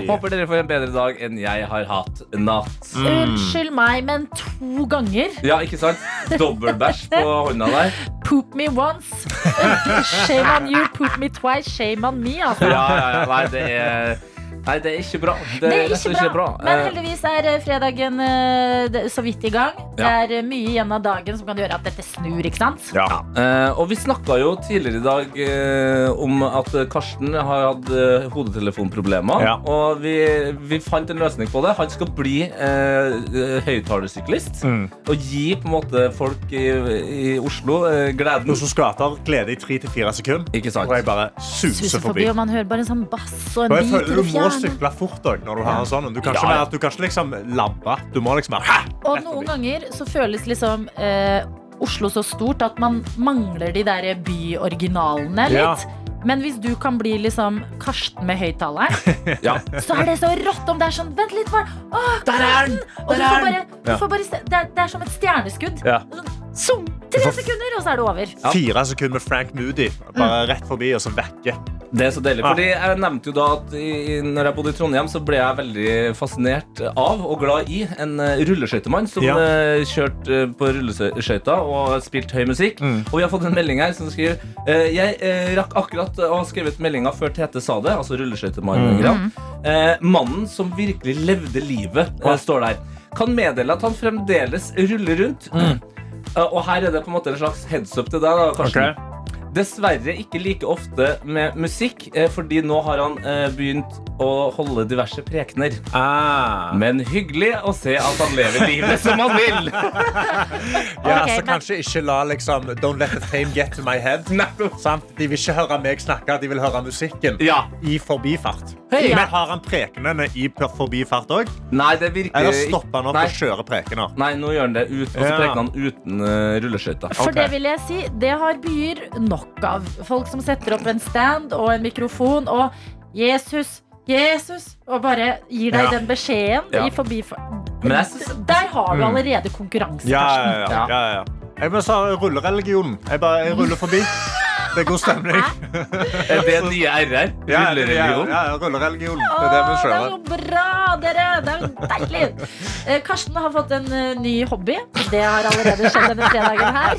Oi.
Håper dere får en bedre dag enn jeg har hatt natt.
Unnskyld meg, men to ganger.
Ja, ikke sant? Dobbeltbæsj på hånda der.
Poop me once. Shame on you, poop me twice, shame on me. Altså.
Ja, ja, ja, nei, det er, nei, det er ikke bra.
Det
rett
er
og slett
ikke bra, men
Eh,
heldigvis er eh, fredagen eh, det- så vidt i gang. Det
Ja.
er eh, mye igjen av dagen som kan gjøre at dette snur, ikke sant?
Ja.
eh, og vi snakka jo tidligere i dag eh, om at Karsten har hatt eh, hodetelefonproblemer.
Ja.
Og vi, vi fant en løsning på det. Han skal bli eh, høyttalersyklist.
Mm.
Og gi på en måte folk i, i Oslo eh, gleden.
Noe som skaper glede i tre til fire sekunder.
Ikke sant?
Og jeg bare suser
suser forbi,
forbi.
og man hører bare en sånn bass og en
Og jeg
bit
føler
til
Du
det
må
fjerne.
sykle fort også når du har en sånn. Du kan
Ja,
ikke,
ja.
være- du kan ikke liksom labbe. Du må liksom være
Og noen ganger så føles liksom eh, Oslo så stort at man mangler de der byoriginalene
Ja.
litt. Men hvis du kan bli liksom Karsten med høyttaleren,
Ja.
så er det så rått om det er sånn Vent litt, bare. Åh, der er den! Og du får bare, du
Ja.
får bare se, det, er, det er som et stjerneskudd.
Ja.
Sånn, zoom, tre
Du får-
sekunder, og så er det over.
Fire sekunder med Frank Moody. Bare
Mm.
rett forbi, og så vekke.
Det er så deilig.
Ja.
Fordi jeg nevnte jo da at i, i- når jeg bodde i Trondheim, så ble jeg veldig fascinert av og glad i en eh, rulleskøytemann som
Ja.
eh, kjørte eh, på rulleskøyta og spilte høy musikk.
Mm.
Og vi har fått en melding her som skriver eh, Jeg eh, rakk akkurat å ha skrevet meldinga før Tete sa det, altså
Mm.
rulleskøytemannen. Eh, mannen som virkelig levde livet, eh, står der. Kan meddele at han fremdeles ruller rundt. Eh, og her er det på en måte en slags heads up til deg, da, Karsten.
Ok.
Dessverre ikke like ofte med musikk, eh, fordi nå har han eh, begynt å holde diverse prekener.
Ah.
Men hyggelig å se at han lever livet som han vil!
Ja,
Ok,
så
men- Mm.
kanskje ikke la liksom Don't let the fame get to my head. Sant? De vil ikke høre meg snakke, de vil høre musikken
Ja.
i forbifart.
Hei.
Men har han prekenene i per- forbifart òg?
Nei, det virker
Eller
ikke-
stopper han opp
Nei.
og kjører prekener?
Nei, nå gjør han det ut, og så
Ja.
preker han uten uh, rulleskøyter.
For
Ok.
det vil jeg si, det har byer nok av. Folk som setter opp en stand og en mikrofon og Jesus, Jesus, og bare gir deg
Ja.
den beskjeden
Ja.
i forbi...
Men jeg synes-
Der har du
Mm.
allerede konkurranse,
Ja, ja,
Karsten.
ja. ja, ja. Jeg bare sa rullereligionen. Jeg bare jeg ruller forbi. Det er god stemning.
Er det nye RR?
Ja, ja,
Rullereligion?
ja, ja, rullereligionen. Det
Å,
er det vi
det er
kjører.
så bra, dere! Det er jo deilig. Eh, Karsten har fått en eh, ny hobby. Det har allerede skjedd denne fredagen her.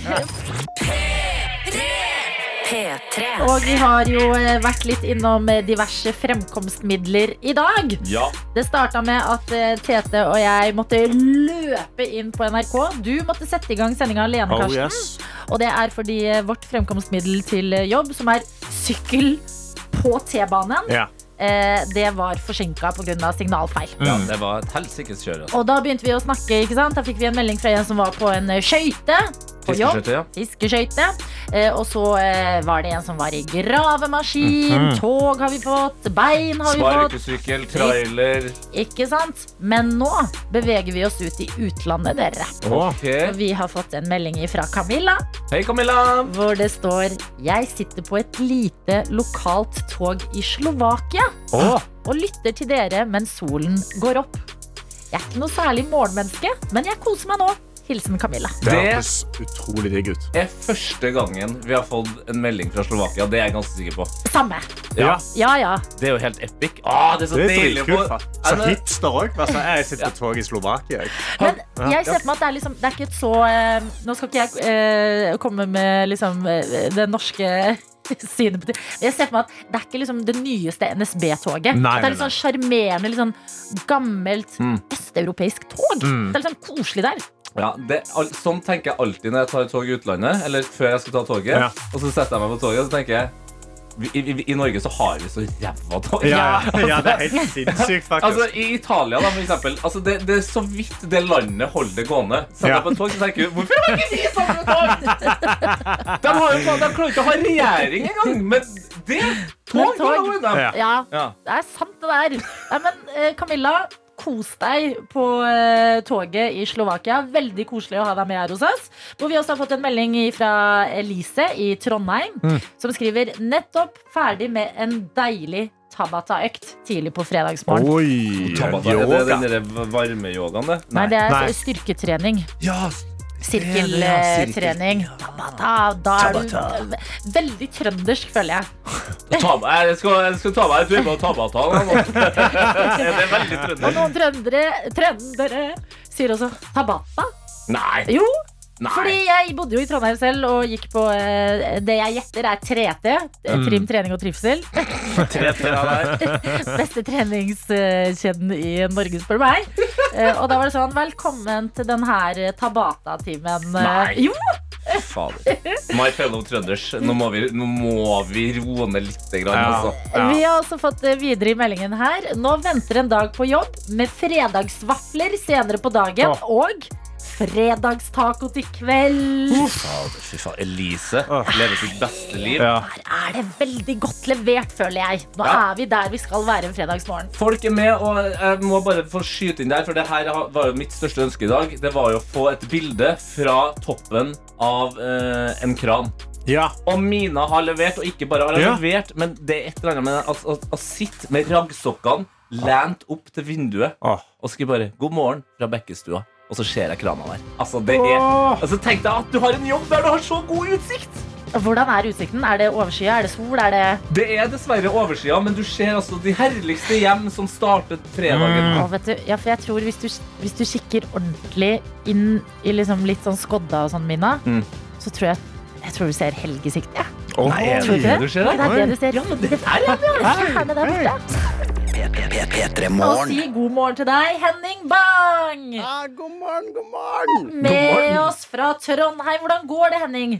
P3.
Og vi har jo eh, vært litt innom eh, diverse fremkomstmidler i dag.
Ja.
Det starta med at eh, Tete og jeg måtte løpe inn på NRK. Du måtte sette i gang sendinga alene,
Oh,
Karsten.
yes.
Og det er fordi eh, vårt fremkomstmiddel til eh, jobb, som er sykkel på T-banen,
Ja.
eh, det var forsinka pga. signalfeil.
ja, det var et helsikes kjør. Altså.
Og da begynte vi å snakke, ikke sant? Da fikk vi en melding fra en som var på en eh, skøyte på jobb.
Fiskeskøyter, ja.
Fiskeskøyte. Eh, og så eh, var det en som var i gravemaskin. Tog har vi fått. Bein har vi fått.
Sparkesykkel, trailer
Ikke sant? Men nå beveger vi oss ut i utlandet, dere.
Ok.
Og vi har fått en melding fra Camilla,
Hei, Camilla!
hvor det står Jeg sitter på et lite lokalt tog i Slovakia og lytter til dere mens solen går opp. Jeg er ikke noe særlig morgenmenneske, men jeg koser meg nå. Hilsen Camilla.
Det
Det-
hørtes utrolig digg ut.
er første gangen vi har fått en melding fra Slovakia. Det er jeg ganske sikker på.
Samme.
Ja.
Ja, ja.
Det er jo helt epic. Ah, det er så
Det er
deilig å få
dritkult. faen.
Ja,
Så
men-
hipster òg. Altså, Jeg sitter på tog i Slovakia. jeg.
Men jeg ser for meg at det er, liksom, det er ikke et så eh, Nå skal ikke jeg eh, komme med liksom, eh, det norske synet på det. Men Jeg ser for meg at det er ikke liksom, det nyeste NSB-toget.
Nei,
Det
nei, Mm.
er litt sånn sjarmerende, litt sånn gammelt østeuropeisk tog. Det er litt sånn koselig der.
Ja, det, al- sånn tenker jeg alltid når jeg tar tog i utlandet. Eller før jeg skal ta toget.
Ja.
Og så setter jeg meg på toget og så tenker jeg vi, i, i, I Norge så har vi så ræva tog.
Ja, ja, ja, det er helt sinnssykt,
Altså,
faktisk.
I Italia, da, for eksempel. Altså, det, det er så vidt det landet holder det gående. Sett
Ja.
deg på et tog, så tenker du Hvorfor har ikke vi sammen et tog?! De har jo faen, de klarer ikke å ha regjering engang! Men det
Men
tog,
tog.
går jo unna.
Ja.
Ja,
Ja.
det er sant, det der. Nei, men eh, Camilla, kos deg på eh, toget i Slovakia. Veldig koselig å ha deg med her hos oss. Hvor vi også har fått en melding fra Elise i Trondheim,
Mm.
som skriver nettopp ferdig med en deilig Tabata-økt tidlig på fredagsmorgen.
Oi.
Tabata, er det den derre varmeyogaen, det?
Nei, det er
Nei.
styrketrening.
Ja,
Sirkeltrening. Tabata. Da er du ve- veldig trøndersk, føler jeg.
Ta, meg- jeg, skal, jeg skal ta meg en tur på Tabata. da, nå. Det er veldig
Og
trønder.
noen trøndere, trøndere sier også Tabata.
Nei.
Jo,
Nei.
Fordi jeg bodde jo i Trondheim selv og gikk på eh, det jeg gjetter er 3T. eh,
Mm.
Trim, trening og trivsel.
Tre til deg der.
Beste treningskjeden i Norge, spør du meg. Eh, og da var det sånn Velkommen til den her Tabata-timen. Eh,
Nei.
Jo!
Fader. My fellow trønders, nå må vi, nå må vi roe ned litt. Grann,
Ja.
altså.
Vi
Ja.
har også fått eh, videre i meldingen her. Nå venter en dag på jobb med fredagsvafler senere på dagen
Åh.
og fredagstaco til kveld.
Fader, fy faen. Elise
Åh.
lever sitt beste liv.
Ah. Ja.
Her er det veldig godt levert, føler jeg. Nå
Ja.
er vi der vi skal være en fredagsmorgen.
Folk er med, og jeg må bare få skyte inn der, for det her var jo mitt største ønske i dag. Det var jo å få et bilde fra toppen av eh, en kran.
ja.
Og Mina har levert, og ikke bare har hun
Ja.
levert, men det er et eller annet med å- å- å sitte med raggsokkene lent opp til vinduet
Åh.
og skrive bare 'God morgen' fra Bekkestua, og så ser jeg krana der. Altså, det er Altså, Tenk deg at du har en jobb der du har så god utsikt!
Hvordan er utsikten? Er det overskyet? Er det sol? Er det
Det er dessverre oversida, men du ser altså de herligste hjem som startet fredagen.
Å, vet du, ja, for jeg tror hvis du, hvis du kikker ordentlig inn i liksom litt sånn skodda og sånn, Mina,
Mm.
så tror jeg jeg tror du ser helgesikt. Ja.
Nei,
Tror
er
du ikke
det
det?
du ser
Nei,
der?
det er det du ser. Ja, men det er det, det er det der borte.
P3
Og
Morgen.
si god morgen til deg, Henning Bang!
Ah, god morgen, god morgen!
Med oss fra Trondheim. Hvordan går det, Henning?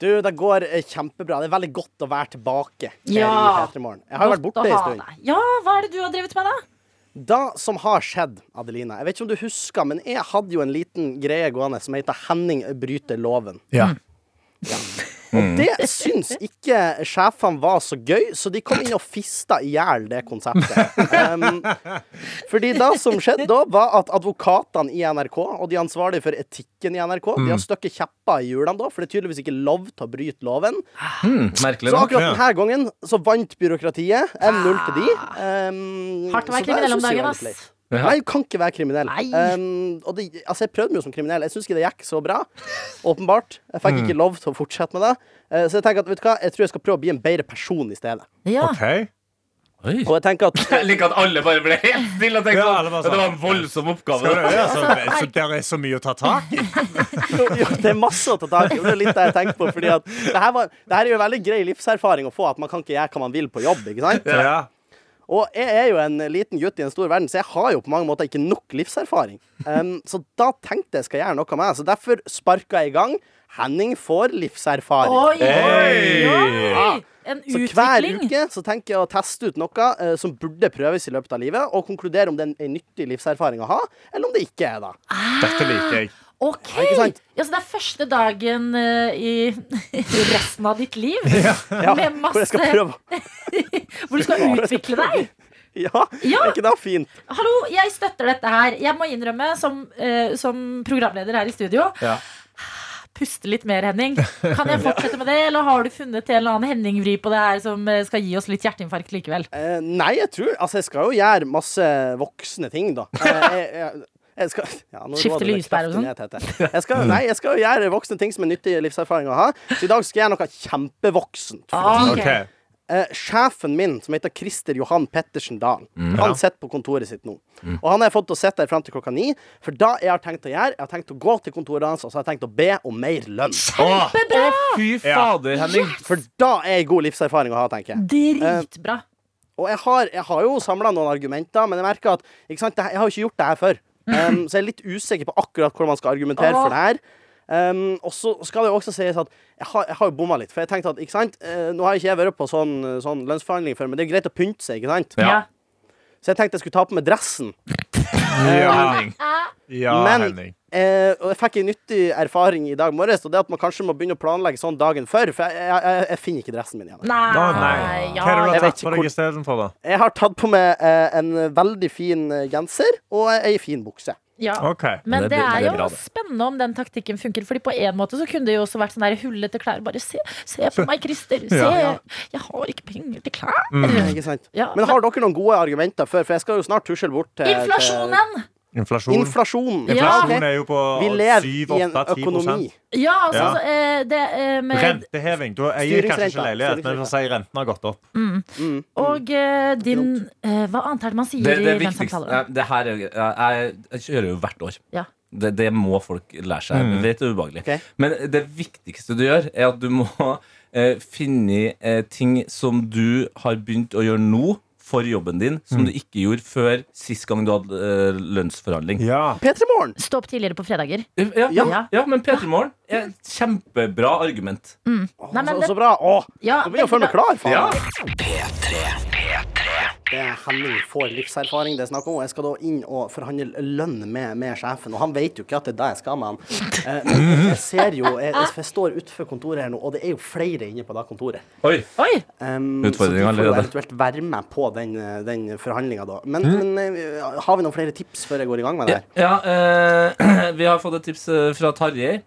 Du, det går eh, kjempebra. Det er veldig godt å være tilbake. her
Ja.
i P3 Morgen. Jeg har jo vært
Godt å
borte en
ha
stund.
deg. Ja, hva er det du har drevet med, da?
Det som har skjedd, Adelina Jeg vet ikke om du husker, men jeg hadde jo en liten greie gående som heter Henning bryter loven.
Ja.
Ja.
Og det syns ikke sjefene var så gøy, så de kom inn og fista i hjel det konseptet. Um, fordi det som skjedde da, var at advokatene i NRK og de ansvarlige for etikken i NRK, de har stukket kjepper i hjulene da, for det er tydeligvis ikke lov til å bryte loven.
Hmm, merkelig
Så
nok.
akkurat
Ja.
denne gangen så vant byråkratiet. 1-0 til de. Um,
Ah. Hardt å
så
være
det
kriminell om
synes jeg
dagen,
var
ass.
litt leit.
Ja.
Nei, du kan ikke være kriminell.
Nei.
Um, og det, altså, jeg prøvde meg jo som kriminell. Jeg syns ikke det gikk så bra. Åpenbart. Jeg fikk
Mm.
ikke lov til å fortsette med det. Eh, så jeg tenker at, vet du hva, jeg tror jeg skal prøve å bli en bedre person i stedet.
Ja.
OK.
Og jeg tenker at
Jeg liker at alle bare ble helt stille og tenkte
Ja,
sånn.
alle bare
Det var
sånn.
en voldsom
Skal
oppgave.
du, ja,
Altså,
så, så der er så mye å ta tak i.
jo, jo, det er masse å ta tak i. og Det er litt det jeg tenkte på. Fordi at det her, var, det her er jo en veldig grei livserfaring å få, at man kan ikke gjøre hva man vil på jobb. ikke sant?
Ja.
Og jeg er jo en liten gutt i en stor verden, så jeg har jo på mange måter ikke nok livserfaring. Um, så da tenkte jeg skal gjøre noe med det. Så derfor sparka jeg i gang. Henning får livserfaring.
Oi,
Hey!
oi, oi. En
Så hver
utvikling.
uke så tenker jeg å teste ut noe eh, som burde prøves i løpet av livet, og konkludere om det er en- en nyttig livserfaring å ha, eller om det ikke er det.
Dette liker jeg.
Ok,
Ja, ikke sant?
ja, så det er første dagen eh, i resten av ditt liv
Ja,
Med masse-
Hvor jeg skal prøve.
hvor du skal utvikle deg.
Ja,
Ja.
er ikke det fint?
Hallo, jeg støtter dette her. Jeg må innrømme, som, eh, som programleder her i studio
Ja.
Puste litt mer, Henning. Kan jeg fortsette med det, eller har du funnet en eller annen Henning-vri på det her som eh, skal gi oss litt hjerteinfarkt likevel?
Eh, nei, jeg tror Altså, jeg skal jo gjøre masse voksne ting, da. Eh, jeg, jeg, jeg skal, ja, nå
Skifte
var det det
lyspære og sånn?
kraften jeg heter. Jeg skal, nei, jeg skal jo gjøre voksne ting som er nyttig livserfaring å ha. Så i dag skal jeg gjøre noe kjempevoksent.
Ok.
OK.
Eh, sjefen min, som heter Christer Johan Pettersen Dahl, han sitter på kontoret sitt nå. Og han har jeg fått til å sitte der fram til klokka ni, for da jeg har tenkt å gjøre, jeg har tenkt å gå til kontoret hans og så har jeg tenkt å be om mer lønn.
Å, fy fader, Henning.
For da er en god livserfaring å ha, tenker jeg.
Dritbra.
Og jeg har, jeg har jo samla noen argumenter, men jeg merker at ikke sant, det her- jeg har jo ikke gjort det her før. Um, så jeg er litt usikker på akkurat hvordan man skal argumentere for det her. Um, og så skal det jo også sies at jeg har, jeg har jo bomma litt. For jeg tenkte at, ikke sant, eh, Nå har ikke jeg vært på sånn, sånn lønnsforhandling før, men det er jo greit å pynte seg. ikke sant?
Ja.
Så jeg tenkte jeg skulle ta på meg dressen.
Ja, Henning. Ja,
Men-
Henning.
Eh, og jeg fikk en nyttig erfaring i dag morges, og det at man kanskje må begynne å planlegge sånn dagen før. For jeg, jeg, jeg, jeg finner ikke dressen min igjen.
Nei,
Å, nei. Hva er det du
jeg
har
vet
tatt på
ikke hvor-
deg istedenfor, da?
Jeg har tatt på meg eh, en veldig fin eh, genser og ei fin bukse.
Ja.
OK.
Men
Det
det
blir-
er
det
jo
er bra, det.
spennende om den taktikken funker. Fordi på en måte så kunne det jo også vært sånn der hullete klær. Bare se, se på meg, Christer. Se,
Ja.
jeg har ikke penger til klær.
Ikke sant?
Mm. Ja,
men har dere noen gode argumenter før? For jeg skal jo snart tusle bort til
Inflasjonen!
Til
Inflasjon.
inflasjonen.
Inflasjon
Ja, ok.
er jo på
Vi lever
7-8-10
i en økonomi.
Ja, altså
Ja.
så, eh, det eh, med,
Renteheving. Du eier kanskje ikke
Styringsrenta.
leilighet, men for å si renten har gått opp.
Og eh, din eh, Hva annet er det man sier
Det, det
i den
viktigste
samtalen?
Nei, det her, er- jeg, jeg kjører jo hvert år.
Ja.
Det, det må folk lære seg. Det er litt ubehagelig.
Ok.
Men det viktigste du gjør, er at du må eh, finne eh, ting som du har begynt å gjøre nå for jobben din, som du ikke gjorde før sist gang du hadde eh, lønnsforhandling.
Ja.
P3 Morgen.
Stå opp tidligere på fredager.
Ja, ja,
Ja.
men P3 Morgen er et kjempebra argument.
Nei, men
Så,
det-
altså, så bra. Å,
Ja,
nå blir jeg jo føle meg klar, faen.
Ja.
Det er Henning får livserfaring, det er snakk om. Jeg skal da inn og forhandle lønn med, med sjefen. Og han vet jo ikke at det er det jeg skal med han. Eh, Men jeg ser jo Jeg, jeg står utenfor kontoret her nå, og det er jo flere inne på det kontoret.
Oi.
Oi!
Um,
Utfordring
så de får jo
allerede.
eventuelt være med på den, eh, den forhandlinga da. Men, men eh, har vi noen flere tips før jeg går i gang med det her?
Mm. Ja, eh, vi har fått et tips eh, fra Tarjei.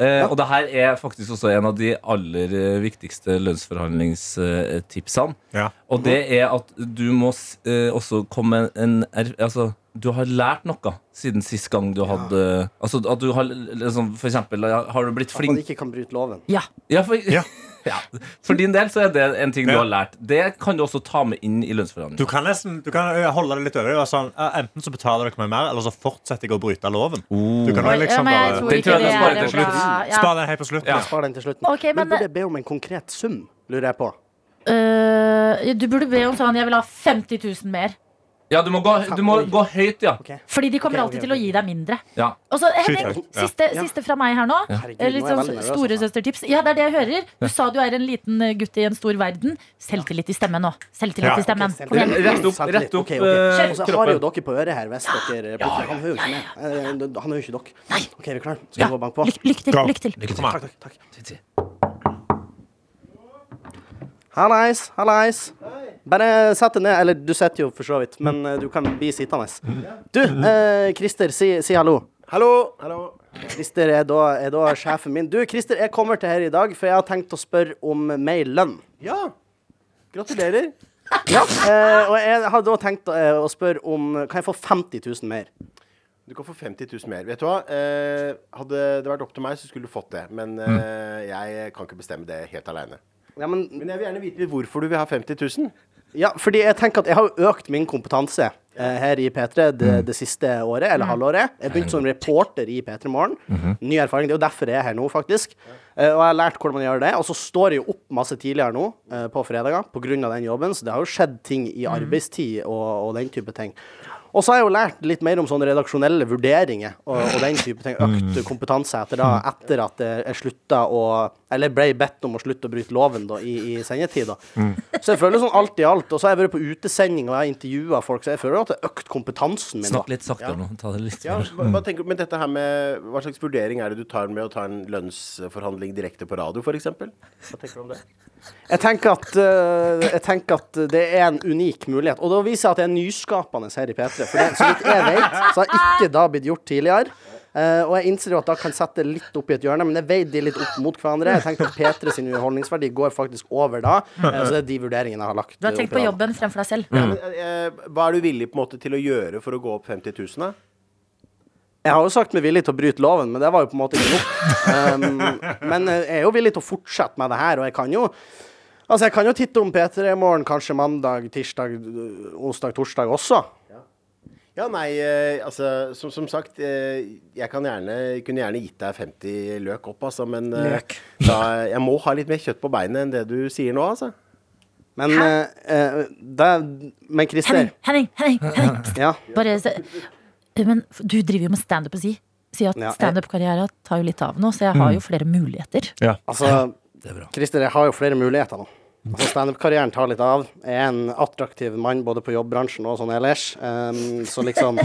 Eh, og det her er faktisk også en av de aller eh, viktigste lønnsforhandlingstipsene.
Ja.
Mhm.
Og det er at du må s- eh, også komme en, en er- Altså, du har lært noe siden sist gang du hadde Altså at du har liksom, For eksempel, har du blitt
At man
flink
ikke kan bryte loven.
Ja.
ja, for, ja. for din del så er det en ting du
Ja.
har lært. Det kan du også ta med inn i lønnsforhandlingene.
Du kan nesten du kan ø, holde det litt over. deg og Sånn, «Ja, enten så betaler dere meg mer, eller så fortsetter jeg å bryte loven. Du kan jo
Oi,
liksom
men jeg
bare
tror
Det
ikke
tror jeg
det
kan spare
er
til
bra.
slutt.
Ja.
Spar den helt på slutten.
Ja.
Spar den til slutten.
Ok, men-
men burde jeg be om en konkret sum, lurer jeg på?
Eh, du burde be om sånn Jeg vil ha 50 000 mer.
Ja, du må gå, du må gå høyt, ja.
Fordi de kommer
Ok,
alltid
ok,
til å
ok.
gi deg mindre.
Ja.
Og så Henning,
Skyt høyt. Ja.
Altså, siste, siste fra meg her nå.
Herregud,
Eh,
nå
Litt
er jeg
sånn
veldig nervøs, altså.
storesøstertips. Ja, det er det jeg hører. Du sa du er en liten eh, gutt i en stor verden. Selvtillit i stemmen nå.
Ja,
Selvtillit i stemmen.
selvtillit.
Kom igjen.
Rett opp,
Selvtillit.
rett opp
Ok,
eh,
ok. Og så har jo
kroppen.
dere på øret her, hvis dere Han hører jo ikke meg. Eh, Han hører jo ikke dere. OK, er vi klare? Skal vi gå og banke på?
Lykke lykke til.
Go.
Lykke til.
Kom an.
Takk, takk. Hallais, hallais. Bare sett deg ned. Eller, du sitter jo for så vidt, men eh, du kan bli sittende. Du, eh, Christer, si, si hallo. Hallo. hallo. Christer er da, er da sjefen min. Du, Christer, jeg kommer til her i dag, for jeg har tenkt å spørre om mer lønn.
Ja. Gratulerer.
Ja, eh, og jeg har da tenkt eh, å spørre om Kan jeg få 50 000 mer?
Du kan få 50 000 mer. Vet du hva? Eh, hadde det vært opp til meg, så skulle du fått det. Men eh, jeg kan ikke bestemme det helt aleine.
men,
jeg vil gjerne vite hvorfor du vil ha 50 000.
Ja, fordi jeg tenker at jeg har jo økt min kompetanse eh, her i P3 det, det siste året, eller halvåret. Jeg begynte som reporter i P3 Morgen. Ny erfaring. Det er jo derfor jeg er her nå, faktisk. Eh, og jeg har lært hvordan man gjør det. Og så står jeg jo opp masse tidligere nå eh, på fredager pga. den jobben, så det har jo skjedd ting i
Mm.
arbeidstid og, og den type ting. Og så har jeg jo lært litt mer om sånne redaksjonelle vurderinger og, og den type ting. Økt kompetanse etter, da, etter at jeg jeg slutta å Eller ble bedt om å slutte å bryte loven da, i, i sendetid. da. Så jeg føler sånn alt i alt. Og så har jeg vært på utesending og jeg har intervjua folk, så jeg føler at jeg har økt kompetansen min. da.
Snakk litt saktere nå. Ta det litt
Ja, hva, hva tenker du med dette her med Hva slags vurdering er det du tar med å ta en lønnsforhandling direkte på radio, f.eks.? Hva tenker du om det?
Jeg tenker, at, eh, jeg tenker at det er en unik mulighet. Og da viser jeg at jeg er nyskapende her i P3. For det, så vidt jeg vet, så har ikke da blitt gjort tidligere. Eh, og jeg innser jo at da kan sette det litt opp i et hjørne, men jeg veier de litt opp mot hverandre. Jeg tenker at P3 sin underholdningsverdi går faktisk over da. Eh, så det er de vurderingene jeg har lagt.
Du har tenkt
opp
på
i da.
jobben fremfor deg selv.
Ja, men, eh, hva er du villig på en måte til å gjøre for å gå opp 50 000? Da?
Jeg har jo sagt meg villig til å bryte loven, men det var jo på en måte ikke nok. Um, men jeg er jo villig til å fortsette med det her, og jeg kan jo Altså, jeg kan jo titte om P3 i morgen, kanskje mandag, tirsdag, øh, onsdag, torsdag også.
Ja, nei, eh, altså som, som sagt, eh, jeg kan gjerne, kunne gjerne gitt deg 50 løk opp, altså, men eh,
Løk.
da, jeg må ha litt mer kjøtt på beinet enn det du sier nå, altså.
Men, eh, eh, det, men Christer
Henning, Henning, Henning.
Ja.
Bare se. Eh, Men f- du driver jo med standup og si. Si at
Ja, jeg-
standup-karriera tar jo litt av nå, så jeg
Mm.
har jo flere muligheter.
Altså, Christer, jeg har jo flere muligheter nå. Altså, Standup-karrieren tar litt av. Jeg er en attraktiv mann både på jobbbransjen og sånn ellers. Um, så liksom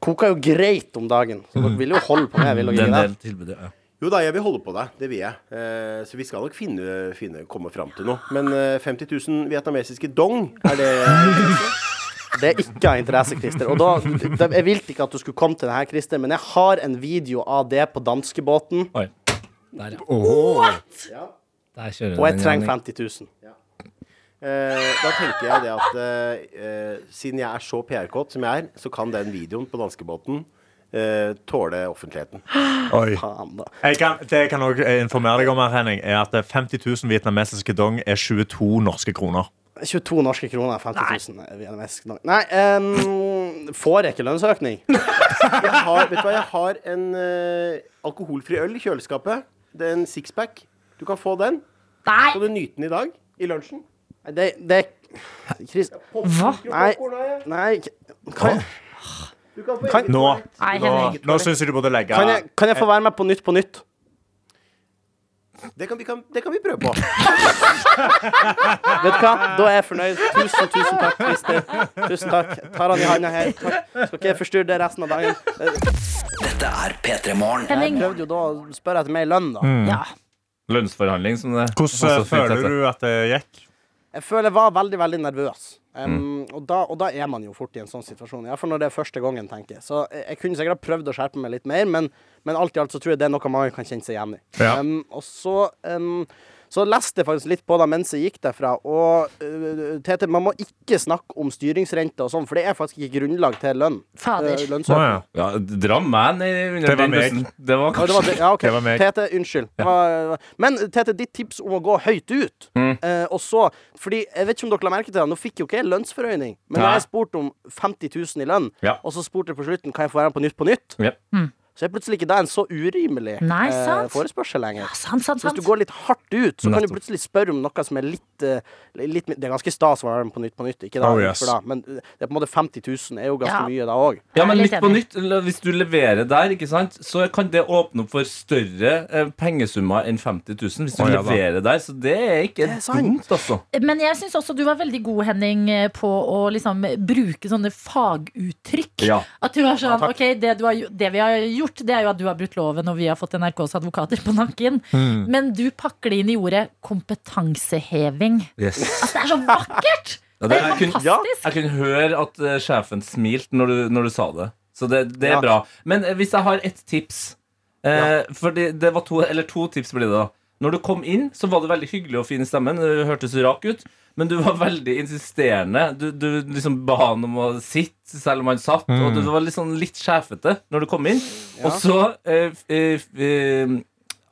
Koker jo greit om dagen. Så dere vil jo holde på meg, vil dere ikke det?
tilbudet, ja.
Jo da, jeg vil holde på deg. Det vil jeg. Eh, så vi skal nok finne, finne komme fram til noe. Men eh, 50 000 vietnamesiske dong, er det
Det er ikke av interesse, Christer. Og da, det- jeg ville ikke at du skulle komme til det her, Christer, men jeg har en video av det på danskebåten,
Oi. Der, ja.
What?
Der kjører
og jeg
den,
trenger
Henning.
50 000.
Eh, Da tenker jeg det at eh, eh, siden jeg er så PR-kåt som jeg er, så kan den videoen på danskebåten eh, tåle offentligheten.
Oi.
Faen, da.
Jeg kan, det jeg kan også eh, informere deg om her, Henning, er at 50 000 vietnamesiske dong er 22 norske kroner.
22 norske kroner, 50 000 vietnamesiske dong. Nei, em, får jeg ikke lønnsøkning?
Jeg har, vet du hva, jeg har en eh, alkoholfri øl i kjøleskapet. Det er en sixpack. Du kan få den.
Nei.
Kan du nyte den i dag? I lunsjen?
Nei, Det, det Chris,
Hva?
Nei, nei kan, Kan-
Nå,
Nei,
nå,
Henning.
nå syns jeg du burde legge
kan, jeg, kan jeg få være med på Nytt på nytt?
Det kan, vi kan, det kan vi prøve på.
Vet du hva? Da er jeg fornøyd. Tusen, tusen takk, Christer. Tusen takk. Jeg Tar han i handa her. Takk. Skal ikke jeg forstyrre deg resten av dagen. Dette er P3 Morgen. Jeg
Henning.
prøvde jo da å spørre etter mer lønn, da.
Mm.
Ja.
Lønnsforhandling, som det
Hvordan
passer
eh,
fint
føler
etter.
du at det gikk?
Jeg føler jeg var veldig, veldig nervøs. Um, og, da, og da er man jo fort i en sånn situasjon. Iallfall når det er første gangen, tenker jeg. Så jeg, jeg kunne sikkert ha prøvd å skjerpe meg litt mer, men, men alt i alt så tror jeg det er noe mange kan kjenne seg igjen i.
Ja.
Um, og så um, så leste jeg faktisk litt på det mens jeg gikk derfra. Og øh, Tete, man må ikke snakke om styringsrente og sånn, for det er faktisk ikke grunnlag til lønn.
Fader.
Øh, lønnsøkning.
ja, dra meg ned under
Det var
den
meg.
bussen. Det var
Ja, det var,
kanskje
det- ja, ok.
Det var meg.
Tete, unnskyld. Det var- Men Tete, ditt tips om å gå høyt ut
Mm.
eh, Og så, fordi jeg vet ikke om dere la merke til det Nå fikk jo ikke jeg lønnsforhøyning Men
Nei.
når jeg spurte om 50 000 i lønn
Ja.
Og så spurte jeg på slutten Kan jeg få være med på nytt på nytt?
Ja.
Så er plutselig ikke det en så urimelig
Nei,
eh,
sant.
forespørsel lenger
sant, sant,
Så Hvis
sant.
du går litt hardt ut Så kan du
Nettopp.
plutselig spørre om noe som er litt, eh, litt Det er ganske stas å være med på nytt på nytt Ikke da,
Oh, yes.
for da Men eh, det er på en måte 50 000 er jo ganske
Ja.
mye da også
Ja, men Nytt på nytt, eller hvis du leverer der, ikke sant, så kan det åpne opp for større eh, pengesummer enn 50 000. Hvis du
Å, ja da.
leverer der, så det er ikke dumt, altså.
Men jeg syns også du var veldig god, Henning, eh, på å liksom bruke sånne faguttrykk.
Ja.
At du var sånn
Ja, takk.
OK, det, du har, gjo- det vi har gjort, det er jo at du har brutt loven, og vi har fått NRKs advokater på nakken.
Mm.
Men du pakker det inn i ordet kompetanseheving.
Yes.
Altså, det er så vakkert!
Ja,
det
det,
er
jeg, kunne, ja,
fantastisk.
jeg kunne høre at eh, sjefen smilte når, du- når du sa det. Så det, det er
Ja.
bra. Men eh, hvis jeg har ett tips eh, For det, det var to, eller to tips blir det da. Når du kom inn, så var du veldig hyggelig og fin i stemmen. Du hørtes rak ut. Men du var veldig insisterende. Du, du liksom ba han om å sitte selv om han satt.
Mm.
Og du, var litt sånn litt sjefete når du kom inn.
Ja.
Og så eh, f- eh, f- eh,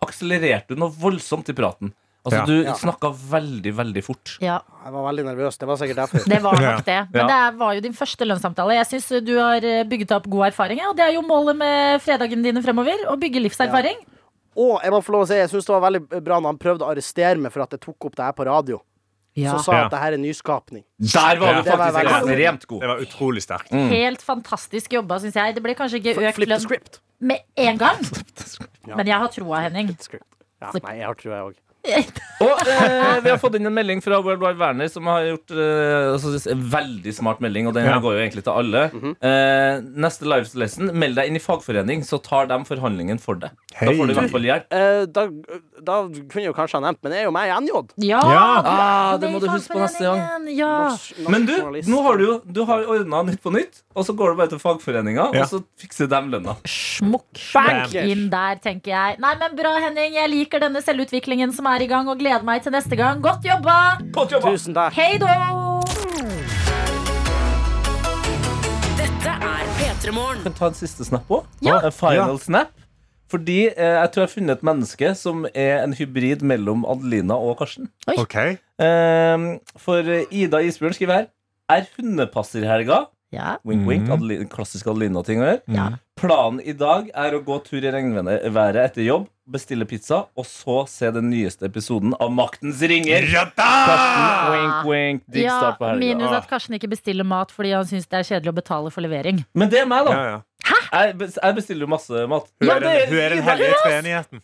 akselererte du noe voldsomt i praten. Altså,
Ja.
du
Ja.
snakka veldig, veldig fort.
Ja.
Jeg var veldig nervøs. Det var sikkert derfor.
Det var nok det. Men
Ja.
det er- var jo din første lønnssamtale. Jeg syns du har eh, bygget opp god erfaring, ja, og det er jo målet med fredagene dine fremover. Å bygge livserfaring.
Og jeg må få lov å si, jeg syns det var veldig bra når han prøvde å arrestere meg for at jeg tok opp det her på radio.
Ja.
Så sa jeg
Ja.
at det her er nyskapning.
Der var du
Det var
faktisk
veldig bra.
ekstremt god.
Det var utrolig sterkt.
Mm.
Helt fantastisk jobba, syns jeg. Det ble kanskje ikke økt
flip the
lønn med en gang,
Ja.
men jeg har troa, Henning.
Ja, nei, jeg har trua, jeg òg.
Og eh, vi har fått inn en melding fra World Wide Werner, som har gjort eh, altså, en veldig smart melding, og den her
Ja.
går jo egentlig til alle. eh, neste live lesson, meld deg inn i fagforening, så tar de forhandlingen for deg. Da
Hei.
får du i hvert fall hjelp.
Eh, da, da kunne jeg jo kanskje ha nevnt, men det er jo meg i NJ.
Ja! sånn
Ja. Ah, det må du huske på neste gang.
Ja.
Men du, nå har du jo Du har ordna Nytt på nytt, og så går du bare til fagforeninga,
Ja.
og så fikser de lønna.
Bank inn der, tenker jeg. Nei, men Bra, Henning. Jeg liker denne selvutviklingen som er i gang, og gleder meg til neste gang. Godt jobba!
Godt jobba.
Tusen takk.
Hei då!
Dette er P3 Morgen.
kan ta en siste snap òg.
Ja.
Final
Ja.
snap. Fordi eh, jeg tror jeg har funnet et menneske som er en hybrid mellom Adelina og Karsten. Eh, for eh, Ida Isbjørn skriver her Er hundepasser i helga?
Ja.
Wink, wink.
Mhm.
Adeline, klassisk Adelina-ting å gjøre.
Ja.
Planen i dag er å gå tur i regnværet etter jobb, bestille pizza, og så se den nyeste episoden av Maktens ringer.
Ja
Karsten, wink, wink. Digg
Ja,
start på helga.
minus
Ah.
at Karsten ikke bestiller mat fordi han syns det er kjedelig å betale for levering.
Men det er meg, da.
Ja, ja.
Jeg bes- Jeg bestiller jo masse mat.
Hun
Ja,
er den,
det
hun er den
Ida.
hellige treenigheten.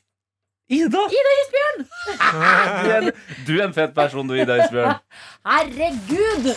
Ida!
Ida Isbjørn!
Du er en- Du er en fet person, du, Ida Isbjørn.
Herregud!